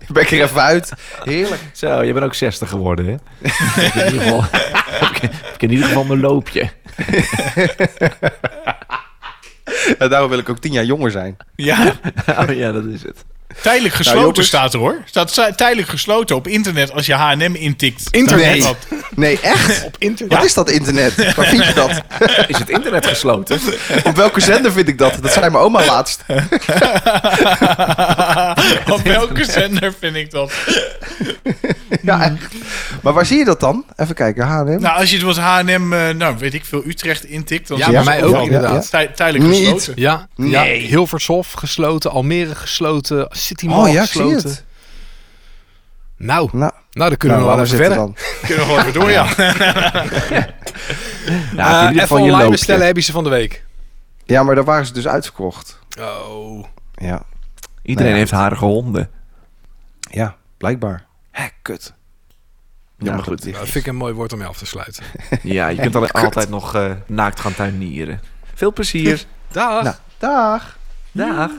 Speaker 5: Ben ik er even uit. Heerlijk.
Speaker 4: Zo, je bent ook 60 geworden, hè? heb, ik in ieder geval, heb, ik, heb ik in ieder geval mijn loopje.
Speaker 5: En daarom wil ik ook tien jaar jonger zijn.
Speaker 2: Ja,
Speaker 4: Oh ja, dat is het.
Speaker 2: tijdelijk gesloten
Speaker 5: jongens.
Speaker 2: staat er hoor. Staat zi- tijdelijk gesloten op internet als je H&M intikt.
Speaker 5: Nee.
Speaker 2: Dat-
Speaker 5: Nee, echt? Op internet? Wat is dat internet? Waar vind je dat?
Speaker 4: Is het internet gesloten?
Speaker 5: Op welke zender vind ik dat? Dat zei mijn oma laatst.
Speaker 2: op welke zender vind ik dat?
Speaker 5: Ja, echt. Maar waar zie je dat dan? Even kijken, H&M.
Speaker 2: Nou, als je het was H&M, eh, nou weet ik veel, Utrecht intikt. Dan
Speaker 3: Ja,
Speaker 2: zie
Speaker 5: bij
Speaker 2: je
Speaker 5: mij
Speaker 2: ze
Speaker 5: ook,
Speaker 2: overal.
Speaker 5: inderdaad.
Speaker 2: Tij- tijdelijk
Speaker 5: Niet.
Speaker 2: gesloten.
Speaker 3: Ja, ja. Hilvershof gesloten, Almere gesloten, City Mall
Speaker 5: oh ja, ik zie
Speaker 3: gesloten.
Speaker 5: het.
Speaker 3: Nou,
Speaker 5: Nou,
Speaker 3: nou, dan kunnen
Speaker 5: nou,
Speaker 3: we nog
Speaker 5: waar
Speaker 3: wel even
Speaker 5: zit het
Speaker 3: verder.
Speaker 5: dan?
Speaker 2: Kunnen we gewoon weer door, ja.
Speaker 4: Ja, heb je in
Speaker 3: Eh,
Speaker 4: ieder
Speaker 3: even
Speaker 4: geval je
Speaker 3: online
Speaker 4: loopje.
Speaker 3: bestellen heb je ze van de week.
Speaker 5: Ja, maar daar waren ze dus uitverkocht.
Speaker 3: Oh.
Speaker 5: Ja,
Speaker 4: Iedereen
Speaker 5: Nou ja,
Speaker 4: heeft harige honden.
Speaker 5: ja blijkbaar. Hé, kut.
Speaker 4: Ja,
Speaker 5: Jammer
Speaker 4: goed.
Speaker 5: dat
Speaker 3: Dat
Speaker 5: het
Speaker 3: vind ik een mooi woord om mee af te sluiten.
Speaker 4: Ja, je kunt dan altijd nog eh, naakt gaan tuinieren. Veel plezier.
Speaker 3: Dag.
Speaker 5: Nou, dag.
Speaker 4: Dag.